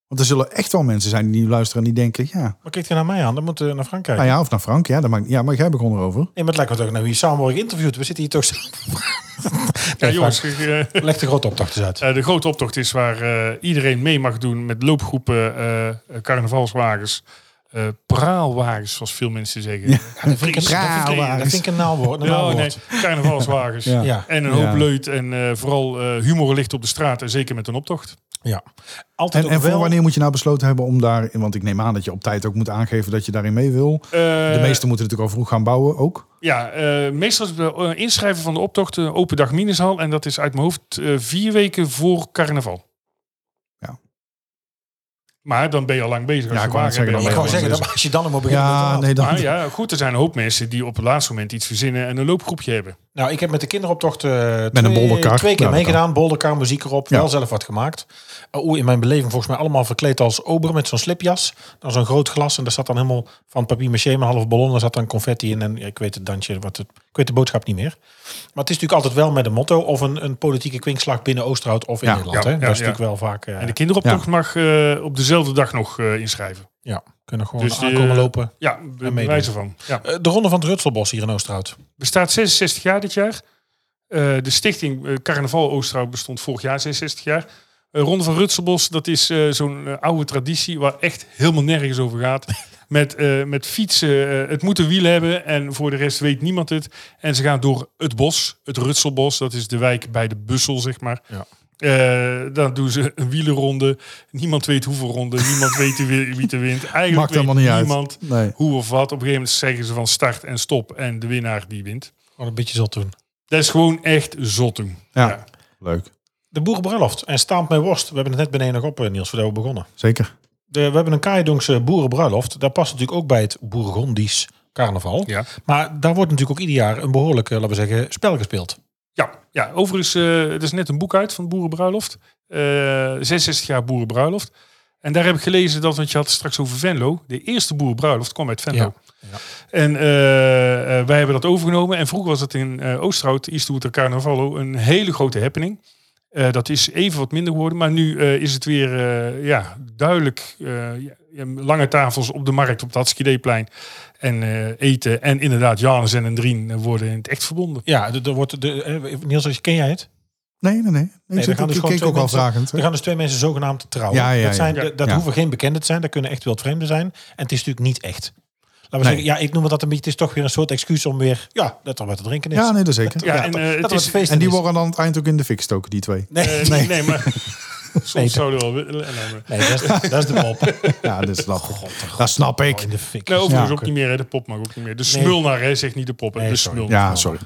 Want er zullen echt wel mensen zijn die nu luisteren en die denken, ja,
Maar kijk je naar mij aan, dan moet je naar Frankrijk.
nou ja of naar Frank, ja, dat maakt, ja maar jij begon erover.
Nee, maar het lijkt me toch nou hier samen worden geïnterviewd. We zitten hier toch samen.
Ja,
Nee,
jongens,
Frank,
eh,
Leg de grote optocht eens uit.
Eh, de grote optocht is waar eh, iedereen mee mag doen met loopgroepen, eh, eh, carnavalswagens, eh, praalwagens, zoals veel mensen zeggen. Ja, dat vind ik- dat vind ik-
Dat vind ik een naalwoord. Een
Ja, oh,
naalwoord.
nee, carnavalswagens.
Ja.
Ja.
En een hoop
Ja.
leut en eh, vooral eh, humor ligt op de straat en zeker met een optocht.
ja. Altijd
En,
ook
en voor
wel-
wanneer moet je nou besloten hebben om daar, want ik neem aan dat je op tijd ook moet aangeven dat je daarin mee wil. De
Eh,
meesten moeten natuurlijk al vroeg gaan bouwen ook.
Ja, eh, meestal is het eh, inschrijven van de optocht eh, open dag Minishal en dat is uit mijn hoofd eh, vier weken voor carnaval.
Ja.
Maar dan ben je al lang bezig. Als
Ja,
je
ik wou net
wagen
zeggen,
bent,
dan
Ik
ben je al
wou
lang
zeggen,
bezig.
dat als je dan nog moet beginnen... met Ah,
Ja,
een
nee, dan.
Maar ja, goed, er zijn een hoop mensen die op het laatste moment iets verzinnen en een loopgroepje hebben.
Nou, ik heb met de kinderoptocht eh,
een
twee,
bolderkar.
twee keer
Nou,
Ja, dat
meegedaan. Bolderkar, muziek erop,
Ja.
wel zelf wat gemaakt. Eh, Oeh, in mijn beleving volgens mij allemaal verkleed als ober met zo'n slipjas. Dan zo'n groot glas en daar zat dan helemaal van papier maché een half ballon. Daar zat dan confetti in en ja, ik weet het dansje, wat het, ik weet de boodschap niet meer. Maar het is natuurlijk altijd wel met een motto of een, een politieke kwinkslag binnen Oosterhout of in
Ja.
Nederland.
Ja,
hè?
ja,
dat is
ja.
natuurlijk wel vaak... eh,
En de kinderoptocht mag eh, op dezelfde dag nog eh, inschrijven.
ja, kunnen gewoon
Dus die,
aankomen
eh,
lopen.
Ja, bij
meedoen.
wijze van. Ja.
Eh, de Ronde van het Rutselbos hier in Oosterhout.
Bestaat 66 jaar dit jaar. Eh, de stichting eh, Carnaval Oosterhout bestond vorig jaar 66 jaar. Eh, Ronde van Rutselbos, dat is eh, zo'n eh, oude traditie waar echt helemaal nergens over gaat. Met, eh, met fietsen, eh, het moet een wiel hebben en voor de rest weet niemand het. En ze gaan door het bos, het Rutselbos, dat is de wijk bij de Bussel, zeg maar.
Ja.
Eh, dan doen ze een wielenronde. Niemand weet hoeveel ronden, niemand weet wie wie er wint. Eigenlijk
Maakt
weet
helemaal niet uit.
niemand
Nee.
hoe of wat. Op een gegeven moment zeggen ze van start en stop en de winnaar die wint.
Gewoon een beetje zot doen.
Dat is gewoon echt zot doen.
Ja.
Ja.
Leuk.
De boerenbruiloft en staand met worst. We hebben het net beneden nog op, eh, Niels, voordat we begonnen.
Zeker.
De, we hebben een Kaaidongse boerenbruiloft. Daar past natuurlijk ook bij het Bourgondisch carnaval.
Ja.
Maar daar wordt natuurlijk ook ieder jaar een behoorlijk, eh, laten we zeggen, spel gespeeld.
Ja, ja. overigens, eh, er is net een boek uit van Boerenbruiloft. Eh 66 jaar Boerenbruiloft. En daar heb ik gelezen dat, want je had het straks over Venlo. De eerste Boerenbruiloft kwam uit Venlo. En eh, eh, wij hebben dat overgenomen. En vroeger was dat in eh Oosterhout, Eastwood en Carnavallo, een hele grote happening. Eh, dat is even wat minder geworden. Maar nu eh, is het weer eh, ja, duidelijk. eh, ja, ja, lange tafels op de markt, op het Hatskideplein. En eh, eten. En inderdaad, Janus en Drien eh, worden in het echt verbonden.
Ja, d- er wordt de, eh, Niels, als je- ken jij het?
Nee, nee, nee. Ik,
dan
zit ook,
gaan dus
ik
gewoon
keek
twee
ook al
mensen-
vragend.
Er gaan dus twee mensen zogenaamd trouwen.
Ja, ja,
dat zijn,
ja.
d- Dat
Ja.
hoeven geen bekenden te zijn. Dat kunnen echt wildvreemden zijn. En het is natuurlijk niet echt. Laten we
Nee.
zeggen, ja, ik noem het dat een beetje. Het is toch weer een soort excuus om weer, ja, dat er wat te drinken is.
Ja, nee, dat zeker.
Ja,
Ja,
en
dat-
eh,
dat
het
was
is...
feest.
En die worden dan aan het eind ook in de fik gestoken, die twee.
Nee,
eh, nee. nee, maar soms
Nee,
zouden we wel willen. eh, nou, maar-
nee, dat is, dat is de pop.
Ja, dat snap ik. dat snap
Oh,
ik.
in de fik.
Nee, overigens
Ja.
ook niet meer. hè. De pop mag ook niet meer. De
Nee.
smulnaar, hè, zegt niet de pop. hè.
Nee,
de
sorry.
smulnaar.
Ja, sorry.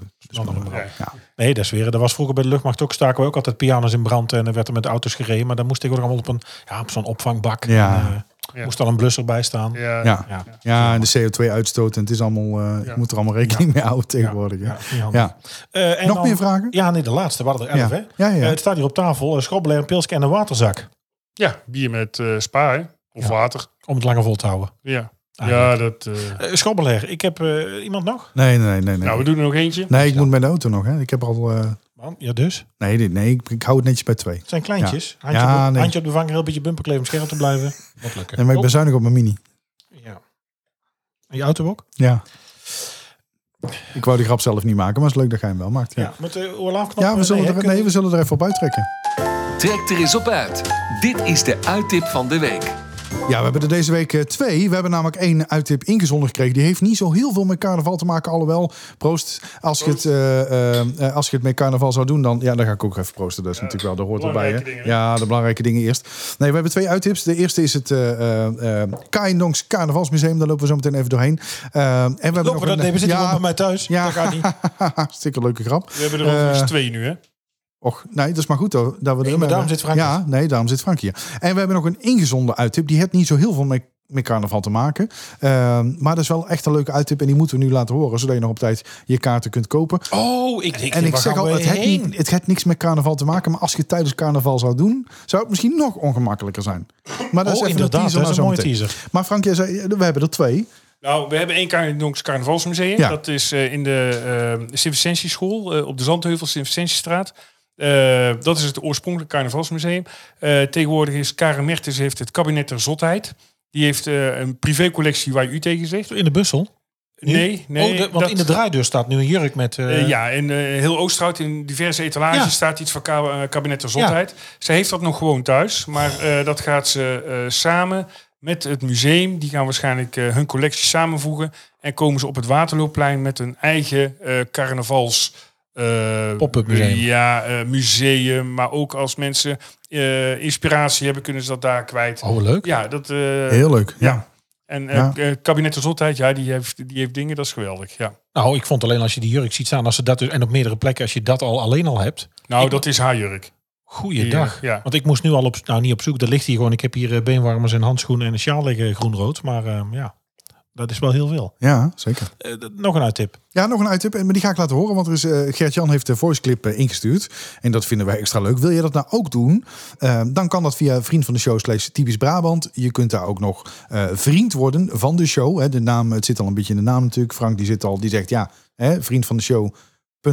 Ja.
Nee, dat is weer. Dat was vroeger bij de luchtmacht ook. Staken we ook altijd pianos in brand en er werd er met auto's gereden. Maar dan moest tegenwoordig allemaal op, een, ja, op zo'n opvangbak.
Ja.
En, eh,
Ja.
Moest dan een blusser bij staan. Ja.
Ja.
Ja.
Ja.
Ja, en de CO2-uitstoot. En het is allemaal, eh,
Ja.
je moet er allemaal rekening mee houden tegenwoordig. Ja.
niet handig.
Ja.
Eh, en
Nog
dan-
meer vragen?
Ja, nee, de laatste. We hadden er elf,
Ja.
hè?
Ja, ja, ja.
Eh, het staat hier op tafel. Uh, Schrobbelen, een pilsje en een waterzak.
Ja, bier met eh, spa, hè? Of
Ja.
water.
Om het langer vol te houden.
Ja,
Ah,
ja dat... eh,
Eh Schobbeler, ik heb eh, iemand nog?
Nee, nee, nee. Nee,
Nou, we doen er nog eentje.
nee ik moet met de auto nog. Hè. Ik heb al... eh,
Man, ja dus.
nee, dit- nee ik, ik hou het netjes bij twee.
Het zijn kleintjes. Handje,
Ja,
op,
nee.
handje op de vanger, heel beetje bumperkleven om scherp te blijven. Wat lukken.
En maar ik ben zuinig op mijn mini.
Ja. En je auto ook?
Ja. Ik wou die grap zelf niet maken, maar het is leuk dat jij hem wel maakt. Ja, ja.
Met de oorlaafknop?
we, zullen
nee,
er,
hè,
nee, we zullen er even op uittrekken.
Trek er eens op uit. Dit is de uittip van de week.
Ja, we hebben er deze week eh, twee. We hebben namelijk één uittip ingezonden gekregen. Die heeft niet zo heel veel met carnaval te maken. Alhoewel, proost. Als je het, eh, eh, eh, als je het met carnaval zou doen, dan, ja, dan ga ik ook even proosten. Dat is natuurlijk wel, dat hoort erbij. Hè?
belangrijke dingen,
Ja, de belangrijke dingen eerst. Nee, we hebben twee uittips. De eerste is het eh eh, eh, Kaindongs Carnavalsmuseum. Daar lopen we zo meteen even doorheen. Eh, en we hebben
Lopen
nog
we dat?
een-
Nee, we zitten gewoon
ja,
bij mij thuis.
Ja.
Dat gaat niet.
hartstikke leuke grap.
We hebben er
Eh,
overigens twee nu, hè?
Och, nee, dat is maar goed hoor. Dat we
Nee,
erin
maar daarom
hebben.
zit Frank hier.
Ja, nee, daarom zit Frank hier. En we hebben nog een ingezonde uittip. Die heeft niet zo heel veel met, met carnaval te maken. Ehm, maar dat is wel echt een leuke uittip. En die moeten we nu laten horen. Zodat je nog op tijd je kaarten kunt kopen.
Oh, ik denk,
en ik zeg al, het heeft,
heen?
niet, het heeft niks met carnaval te maken. Maar als je het tijdens carnaval zou doen, zou het misschien nog ongemakkelijker zijn. Maar dat is
Oh,
even een
inderdaad,
teaser.
dat is
naar
een mooie
zometeen.
teaser.
Maar Frank, jij zei, we hebben er twee.
Nou, we hebben één Kaarnidonks Carnavalsmuseum.
Ja.
Dat is eh, in de eh Sint-Vicentieschool eh, op de Zandheuvel, Sint-Vicentiesstraat. Eh, dat is het oorspronkelijke carnavalsmuseum. Eh, tegenwoordig is Karen Mertens heeft het kabinet der zotheid. Die heeft eh, een privécollectie waar u tegen zegt.
In de bussel? Nu?
Nee, nee.
oh, de- want
dat-
in de draaideur staat nu een jurk met... eh,
eh, ja, en eh, heel Oosterhout in diverse etalages
Ja.
staat iets van ka- eh, kabinet der zotheid. Ze heeft dat nog gewoon thuis, maar eh, dat gaat ze eh, samen met het museum. Die gaan waarschijnlijk eh, hun collectie samenvoegen. En komen ze op het Waterloopplein met een eigen eh, carnavals... eh,
Pop-up museum.
Ja, eh, museum. Maar ook als mensen eh, inspiratie hebben, kunnen ze dat daar kwijt.
Oh, leuk.
Ja, dat... eh,
Heel leuk.
ja.
Ja.
En eh
Ja.
eh, kabinet der zotheid, ja, die heeft, die heeft dingen, dat is geweldig, ja.
Nou, ik vond alleen als je die jurk ziet staan, als ze dat dus, en op meerdere plekken, als je dat al alleen al hebt.
Nou,
Ik-
dat is haar jurk.
Goeiedag.
Ja, ja.
Want ik moest nu al op, nou niet op zoek, dat ligt hier gewoon. Ik heb hier eh, beenwarmers en handschoenen en een sjaal liggen groen-rood. Maar eh, ja, dat is wel heel veel.
Ja, zeker.
Eh, d- nog een uittip.
Ja, nog een uittip. En- Maar die ga ik laten horen. Want er is, eh, Gert-Jan heeft de voiceclip eh, ingestuurd. En dat vinden wij extra leuk. Wil je dat nou ook doen? Eh, dan kan dat via vriend van de show slash typisch Brabant. Je kunt daar ook nog eh, vriend worden van de show. Hè, de naam, het zit al een beetje in de naam natuurlijk. Frank die zit al, die zegt ja, hè, vriend van de show.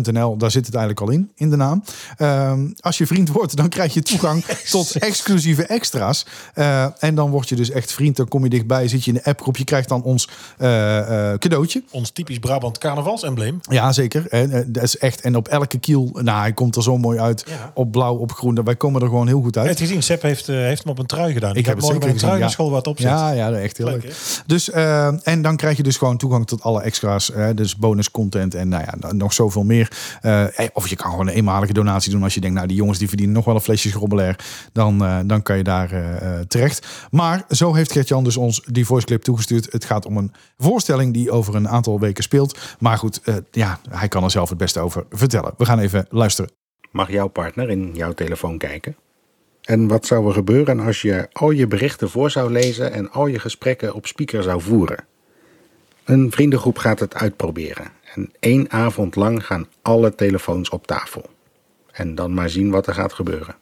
.nl, daar zit het eigenlijk al in, in de naam. Ehm, als je vriend wordt, dan krijg je toegang tot exclusieve extra's. Eh, en dan word je dus echt vriend, dan kom je dichtbij, zit je in de appgroep. Je krijgt dan ons eh, eh, cadeautje.
Ons typisch Brabant carnavalsembleem.
Ja, zeker. En, eh, dat is echt. En op elke kiel, nou, hij komt er zo mooi uit.
Ja.
Op blauw, op groen. Wij komen er gewoon heel goed uit.
Net gezien, Sepp heeft, eh, heeft hem op een trui gedaan. Ik,
heb
heb
het
morgen
zeker
bij een trui
gezien,
naar
ja.
school wat op zit.
ja, ja, echt heel leuk. Dus, eh, en dan krijg je dus gewoon toegang tot alle extra's. Hè, dus bonus content en nou ja, n- nog zoveel meer. Eh, eh, of je kan gewoon een eenmalige donatie doen als je denkt, nou die jongens die verdienen nog wel een flesje schrobbelair. Dan, eh, dan kan je daar eh, eh, terecht. Maar zo heeft Gert-Jan dus ons die voiceclip toegestuurd. Het gaat om een voorstelling die over een aantal weken speelt. Maar goed, eh, ja, hij kan er zelf het beste over vertellen. We gaan even luisteren.
mag jouw partner in jouw telefoon kijken? En wat zou er gebeuren als je al je berichten voor zou lezen en al je gesprekken op speaker zou voeren? Een vriendengroep gaat het uitproberen en één avond lang gaan alle telefoons op tafel. En dan maar zien wat er gaat gebeuren.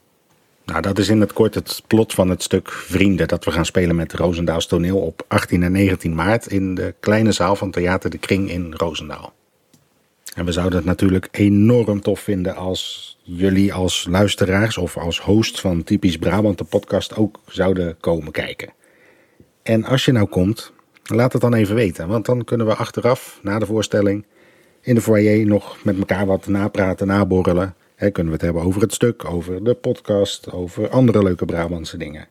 Nou, dat is in het kort het plot van het stuk Vrienden dat we gaan spelen met Roosendaals Toneel op 18 en 19 maart in de kleine zaal van Theater de Kring in Roosendaal. En we zouden het natuurlijk enorm tof vinden als jullie als luisteraars of als host van Typisch Brabant de podcast ook zouden komen kijken. En als je nou komt, laat het dan even weten, want dan kunnen we achteraf, na de voorstelling, in de foyer nog met elkaar wat napraten, naborrelen. Hè, kunnen we het hebben over het stuk, over de podcast, over andere leuke Brabantse dingen.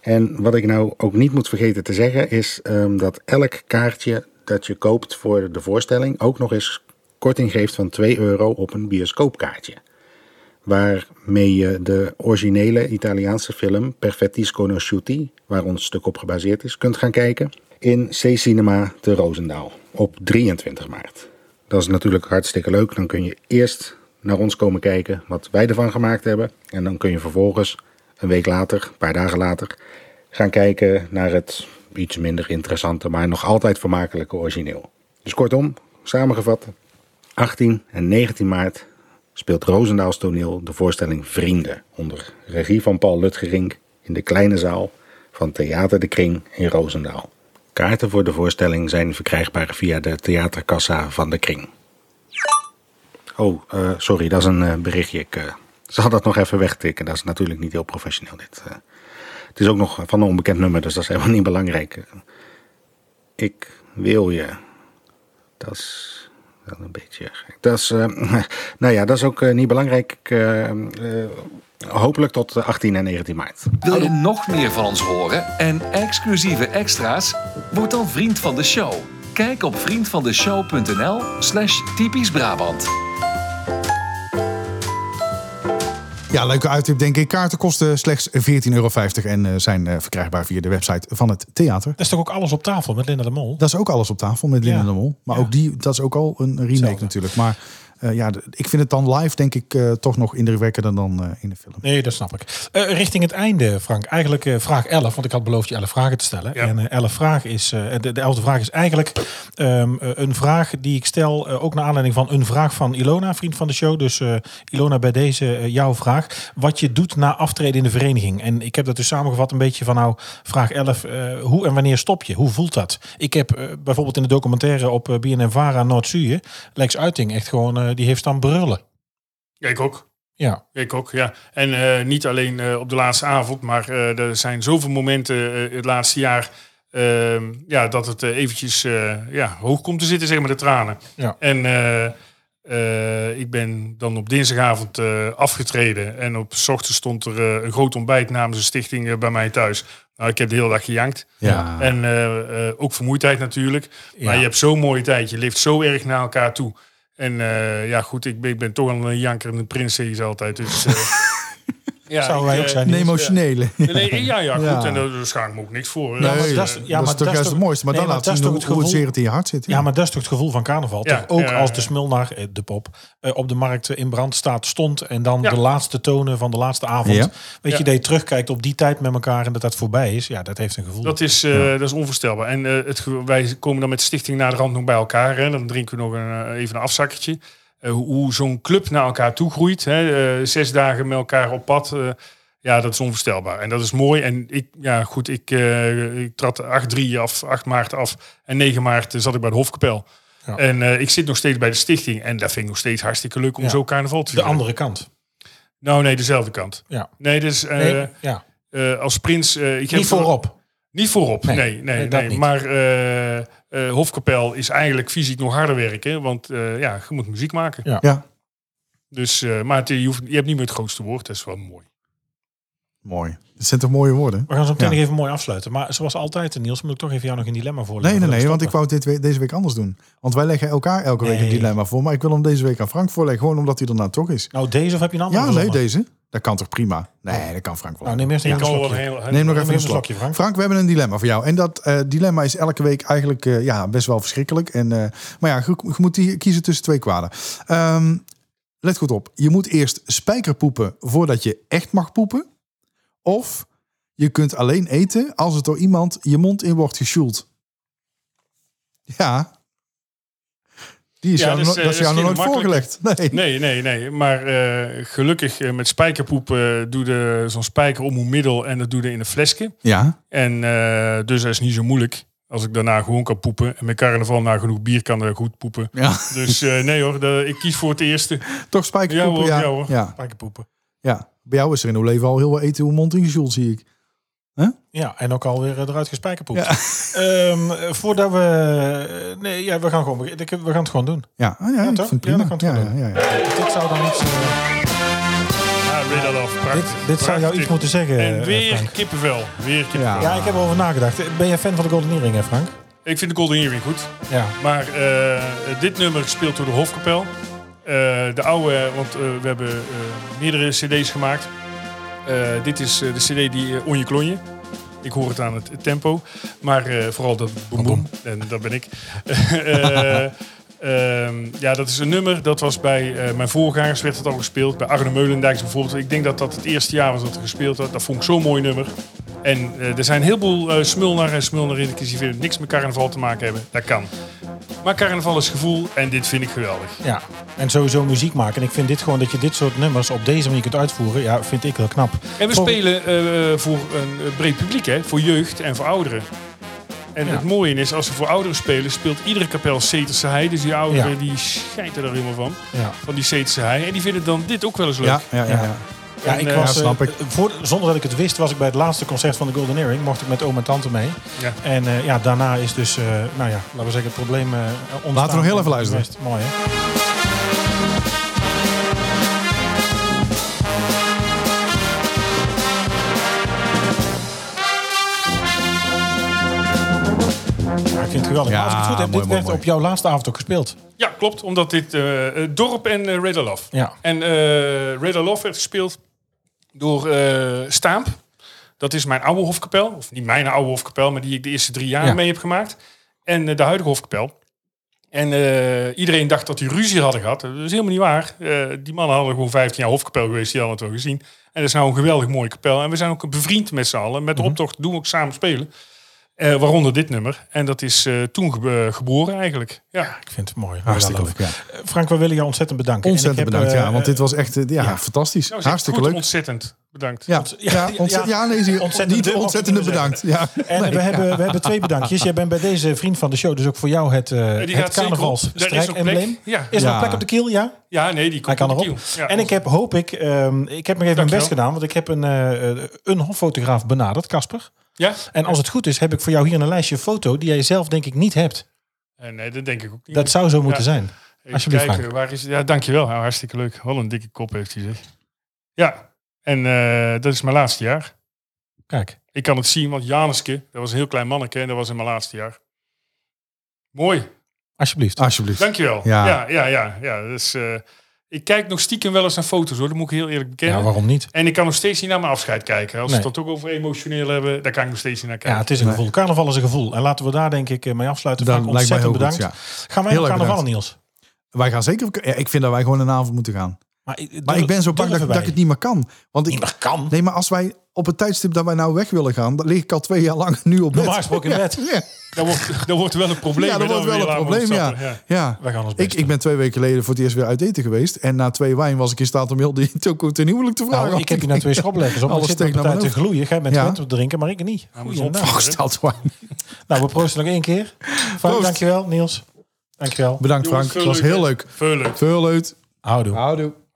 En wat ik nou ook niet moet vergeten te zeggen is ehm, dat elk kaartje dat je koopt voor de voorstelling ook nog eens korting geeft van 2 euro op een bioscoopkaartje. Waarmee je de originele Italiaanse film Perfettis Conosciuti, waar ons stuk op gebaseerd is, kunt gaan kijken in C Cinema te Roosendaal op 23 maart. Dat is natuurlijk hartstikke leuk. Dan kun je eerst naar ons komen kijken wat wij ervan gemaakt hebben. En dan kun je vervolgens een week later, een paar dagen later, gaan kijken naar het iets minder interessante, maar nog altijd vermakelijke origineel. Dus kortom, samengevat, 18 en 19 maart speelt Roosendaals Toneel de voorstelling Vrienden onder regie van Paul Lutgerink, in de kleine zaal van Theater de Kring in Roosendaal. Kaarten voor de voorstelling zijn verkrijgbaar via de theaterkassa van de Kring. Oh, eh, sorry, dat is een eh, berichtje. Ik eh, zal dat nog even wegtikken. Dat is natuurlijk niet heel professioneel dit. eh. het is ook nog van een onbekend nummer, dus dat is helemaal niet belangrijk. Ik wil je. Dat is wel een beetje gek. Dat is, eh, nou ja, dat is ook eh, niet belangrijk. Ik, eh, eh, hopelijk tot eh, 18 en 19 maart.
Wil je nog meer van ons horen en exclusieve extra's? Word dan vriend van de show. Kijk op vriendvandeshow.nl slash typisch Brabant.
Ja, leuke uittip denk ik. Kaarten kosten slechts 14,50 euro en eh, zijn eh, verkrijgbaar via de website van het theater.
Dat is toch ook alles op tafel met Linda de Mol?
Dat is ook alles op tafel met Linda
Ja.
de Mol. Maar
Ja.
ook die, dat is ook al een remake
Hetzelfde.
natuurlijk. Maar eh, ja, de- ik vind het dan live denk ik eh, toch nog indrukwekkender dan eh, in de film.
Nee, dat snap ik. Eh, richting het einde, Frank. Eigenlijk eh, vraag 11, want ik had beloofd je 11 vragen te stellen.
Ja.
En eh 11 vraag is, eh, de, de 11e vraag is eigenlijk ehm, eh, een vraag die ik stel, eh, ook naar aanleiding van een vraag van Ilona, vriend van de show. Dus eh, Ilona, bij deze eh, jouw vraag. Wat je doet na aftreden in de vereniging. En ik heb dat dus samengevat een beetje van nou, vraag 11. eh, hoe en wanneer stop je? Hoe voelt dat? Ik heb eh, bijvoorbeeld in de documentaire op eh, BNN Vara Noord-Zuur, Lex Uiting, echt gewoon, eh, die heeft staan brullen.
Ja, ik ook.
Ja.
Ik ook, ja. En eh, niet alleen eh, op de laatste avond, maar eh, er zijn zoveel momenten eh, het laatste jaar eh, ja, dat het eh, eventjes eh, ja, hoog komt te zitten, zeg maar, de tranen.
Ja.
En eh, eh, ik ben dan op dinsdagavond eh, afgetreden en op 's ochtends stond er eh, een groot ontbijt namens een stichting eh, bij mij thuis. Nou, ik heb de hele dag gejankt.
Ja.
En eh, eh, ook vermoeidheid natuurlijk. Maar je hebt zo'n mooie tijd. Je leeft zo erg naar elkaar toe. En eh, ja, goed, ik ben, ik ben toch al een janker en een prinses altijd. Dus, eh, ja,
Zouden
ik,
wij ook
eh,
zijn.
Een emotionele.
Nee, nee, ja, ja, goed.
Ja.
En daar daar schaam ik me ook niks voor.
Ja,
Eh,
maar dat is-
eh,
ja,
dat is
maar
toch
dat is
juist het
toch-
mooiste. Maar
nee,
dan
maar
laat
dat
zien
is
hoe,
toch het
hoe het
gevoel-
zeer het in je hart zit.
Ja, maar dat is toch het gevoel van carnaval.
Ja,
toch? Ook
ja,
als
ja.
de smulnaar, eh, de pop, eh, op de markt in brand staat, stond. En dan
Ja.
de laatste tonen van de laatste avond.
Ja.
Weet
Ja.
je, dat je terugkijkt op die tijd met elkaar en dat dat voorbij is. Ja, dat heeft een gevoel.
Dat is, eh, dat is onvoorstelbaar. En eh, het, ge- wij komen dan met de stichting naar de rand nog bij elkaar. Hè. Dan drinken we nog een, eh, even een afzakkertje. Eh, hoe hoe zo'n club naar elkaar toe groeit. Hè. eh, zes dagen met elkaar op pad. eh, ja, dat is onvoorstelbaar. En dat is mooi. En ik, ja, goed, ik, eh, ik trad 8-3 af, 8 maart af. En 9 maart eh, zat ik bij de Hofkapel.
Ja.
En eh, ik zit nog steeds bij de stichting. En dat vind ik nog steeds hartstikke leuk om
Ja.
zo carnaval te
de
vieren.
andere kant.
Nou nee, dezelfde kant.
Ja.
Nee, dus eh,
Nee, ja.
eh, als prins... eh, ik heb
Niet voorop.
niet voorop,
Nee,
nee. nee,
nee,
nee,
dat niet.
Maar eh, eh, Hofkapel is eigenlijk fysiek nog harder werken. Want eh, ja, je moet muziek maken.
Ja.
Ja.
Dus, eh, maar het- je, hoeft, je hebt niet meer het grootste woord. Dat is wel mooi.
Mooi. Dat zijn toch mooie woorden?
We gaan zo meteen
Ja.
nog even mooi afsluiten. Maar zoals altijd, eh, Niels, moet ik toch even jou nog een dilemma
Nee,
voorleggen.
nee, nee,
voordat
want
we
ik wou dit, we- deze week anders doen. Want wij leggen elkaar elke week een
Nee.
dilemma voor. Maar ik wil hem deze week aan Frank voorleggen, gewoon omdat hij ernaar toch is.
stoppen. Nou, deze of heb je een andere?
Ja, nee,
verzonnen?
deze. Dat kan toch prima? Nee, dat kan Frank wel.
Nou, neem eerst een
Ik kan wel
slokje.
een heel,
Neem nog even
even
een
een
slok.
slokje, Frank.
Frank, we hebben een dilemma voor jou. En dat eh, dilemma is elke week eigenlijk eh, ja, best wel verschrikkelijk. En, eh, maar ja, je, je moet die kiezen tussen twee kwaden. Ehm, let goed op. Je moet eerst spijker poepen voordat je echt mag poepen. Of je kunt alleen eten als het door iemand je mond in wordt gesjoeld. Ja. Die is
Ja,
jou,
dat is,
nog-
eh,
dat is
dat
jou
is
nog
geen
nooit voorgelegd. Nee.
Nee, nee, nee. Maar eh, gelukkig eh, met spijkerpoep eh doe de zo'n spijker om een middel en dat doe je in een flesje.
Ja.
En eh, dus dat is niet zo moeilijk. Als ik daarna gewoon kan poepen. En met carnaval na genoeg bier kan er goed poepen.
ja,
Dus eh, nee hoor, de- ik kies voor het eerste.
toch spijker
Ja
poepen.
hoor,
Ja,
ja hoor.
Ja.
Spijkerpoepen.
Ja. Bij jou is er in uw leven al heel wat eten uw mond in gesjoeld, zie ik.
Ja, en ook alweer eh, eruit gespijkerpoept.
Ja.
Ehm, eh, voordat we... eh, Nee, ja, we gaan, gewoon, beg- ik- we gaan het gewoon doen.
Ja, ah, ja, ik
toch?
vind het prima.
Ja, dat kan het
Ja,
wel
ja, ja, ja.
Dit zou dan iets... eh,
Ja, Ridderlof, prachtig.
Dit- dit zou jou
prachtig.
iets moeten zeggen,
En
eh,
weer
Frank.
kippenvel. Weer kippenvel.
Ja.
Ja, ik heb erover nagedacht. Ben jij fan van de Golden Earring, hè Frank?
Ik vind de Golden Earring goed.
Ja.
Maar eh, dit nummer gespeeld door de Hofkapel. Eh, de oude, want eh, we hebben eh, meerdere cd's gemaakt. Eh, dit is eh, de cd die eh, Onje Klonje. Ik hoor het aan het tempo. Maar eh, vooral dat boem boem. En dat ben ik. Eh, ehm, ja, dat is een nummer. Dat was bij eh, mijn voorgangers werd het al gespeeld. Bij Arne Meulendijks bijvoorbeeld. Ik denk dat dat het eerste jaar was dat er gespeeld werd. Dat vond ik zo'n mooi nummer. En eh, er zijn heel veel eh smulnar en smulnarinnetjes die vinden niks met carnaval te maken hebben. Dat kan. Maar carnaval is gevoel en dit vind ik geweldig.
Ja, en sowieso muziek maken. En ik vind dit gewoon dat je dit soort nummers op deze manier kunt uitvoeren. Ja, vind ik heel knap.
En we
Vol-
spelen eh, voor een eh, breed publiek, hè? voor jeugd en voor ouderen. En
Ja.
het mooie is, als we voor ouderen spelen, speelt iedere kapel Ceterse Hei. Dus die ouderen
Ja.
die schijten er helemaal van,
Ja,
van die Ceterse Hei. En die vinden dan dit ook wel eens leuk.
Ja, ja, ja. ja.
Ja. ja
En,
ik
eh,
was,
ja, snap
eh,
ik.
Voor, zonder dat ik het wist, was ik bij het laatste concert van de Golden Earring. Mocht ik met oom en tante mee.
Ja.
En eh, ja, daarna is dus, eh, nou ja, laten we zeggen, het probleem eh ontstaan.
Laten we nog heel even luisteren.
Best Mooi, hè? Ja, ik vind het geweldig.
Ja,
Maar als ik het
mooi,
goed heb, dit
mooi,
werd
mooi.
op jouw laatste avond ook gespeeld.
Ja, klopt. Omdat dit eh, eh, Dorp en eh, Red Love.
Ja.
En eh Red Love werd gespeeld door eh Staamp. Dat is mijn oude hofkapel. Of niet mijn oude hofkapel, maar die ik de eerste drie jaar
Ja.
mee heb gemaakt. En eh, de huidige hofkapel. En eh, iedereen dacht dat die ruzie hadden gehad. Dat is helemaal niet waar. Eh, die mannen hadden gewoon 15 jaar hofkapel geweest. Die hadden het wel gezien. En dat is nou een geweldig mooie kapel. En we zijn ook bevriend met z'n allen. Met de optocht doen we ook samen spelen. Eh, waaronder dit nummer. En dat is eh, toen ge- geboren eigenlijk. Ja.
Ik vind het mooi.
Hartstikke
Heel
leuk. Ja.
leuk. Frank, we willen jou ontzettend bedanken.
Ontzettend
En ik heb,
bedankt,
eh,
ja. Want dit was echt eh, ja, fantastisch.
Nou, zeg,
Hartstikke
goed,
leuk.
Ontzettend bedankt.
Ja,
ja,
ja, ontze-
ja.
ja, nee, zie je,
Ontzettende
niet
bedankt.
ontzettende bedankt. Ja.
En
Nee.
we, hebben, we hebben twee bedankjes. Jij bent bij deze vriend van de show, dus ook voor jou het, eh
Eh, die
het
gaat zeker op. Daar is nog plek.
carnavalsstrijkembleem.
Ja.
Is er
Ja.
nog plek op de kiel? Ja,
ja, nee, die
hij
komt
kan
op de
erop.
kiel. Ja,
en ik heb, hoop ik, ehm, ik heb nog even mijn
Dankjewel.
best gedaan, want ik heb een, eh, eh, een hoffotograaf benaderd, Casper.
Ja?
En als het goed is, heb ik voor jou hier een lijstje foto die jij zelf denk ik niet hebt.
Eh, nee, dat denk ik ook niet.
Dat zou zo moeten
Ja.
zijn.
Even
alsjeblieft,
kijken,
Frank.
waar is, ja, dankjewel. Nou, hartstikke leuk. Wat een dikke kop heeft hij zeg. Ja, en eh, dat is mijn laatste jaar.
Kijk,
Ik kan het zien, want Janeske, dat was een heel klein manneke en dat was in mijn laatste jaar. Mooi,
alsjeblieft.
Alsjeblieft.
dankjewel.
Ja.
Ja, ja, ja. ja, dus, eh, ik kijk nog stiekem wel eens naar foto's hoor, dat moet ik heel eerlijk bekennen.
Ja, waarom niet?
en ik kan nog steeds niet naar mijn afscheid kijken. Als we
Nee.
het dan toch over emotioneel hebben, daar kan ik nog steeds niet naar
Ja,
kijken.
het is een
Nee.
gevoel. Carnaval is een gevoel. En laten we daar denk ik eh, mee afsluiten.
Dat
Frank,
lijkt mij heel
ontzettend
goed,
bedankt.
ja.
Gaan wij
Heel
naar
erg
carnaval,
bedankt.
Niels?
Wij gaan zeker... op- ja, ik vind dat wij gewoon een avond moeten gaan. Maar ik ben zo bang dat, dat ik het niet meer kan. Want ik,
niet meer kan.
nee, maar als wij op het tijdstip dat wij nou weg willen gaan... dan lig ik al twee jaar lang nu op bed.
Normaal gesproken in bed.
Ja,
Dat wordt, dat wordt wel een probleem.
Ja, dat
hè,
wordt
we
wel
weer
een
laten
probleem, ja.
ontsnappen.
ja.
Wij gaan ons best
Ik, ik ben twee weken geleden voor het eerst weer uit eten geweest. En na twee wijn was ik in staat om heel die toko ten huwelijk te vragen.
Nou, ik heb hier net twee schopleggers op.
Alles
Ik zit nog
steekt naar
tijd te
mijn
gloeien. Jij bent
Ja.
gewend op drinken, maar ik niet.
moet
Goeienacht.
opvangen.
Och, staat wijn.
Nou, we proosten nog één keer. Frank,
Proost.
dankjewel. Niels, dankjewel.
Bedankt
Jongens,
Frank, het was
veel leuk,
heel
hè?
leuk.
Veel leuk.
Veel leuk.
Houdoe.
Houdoe.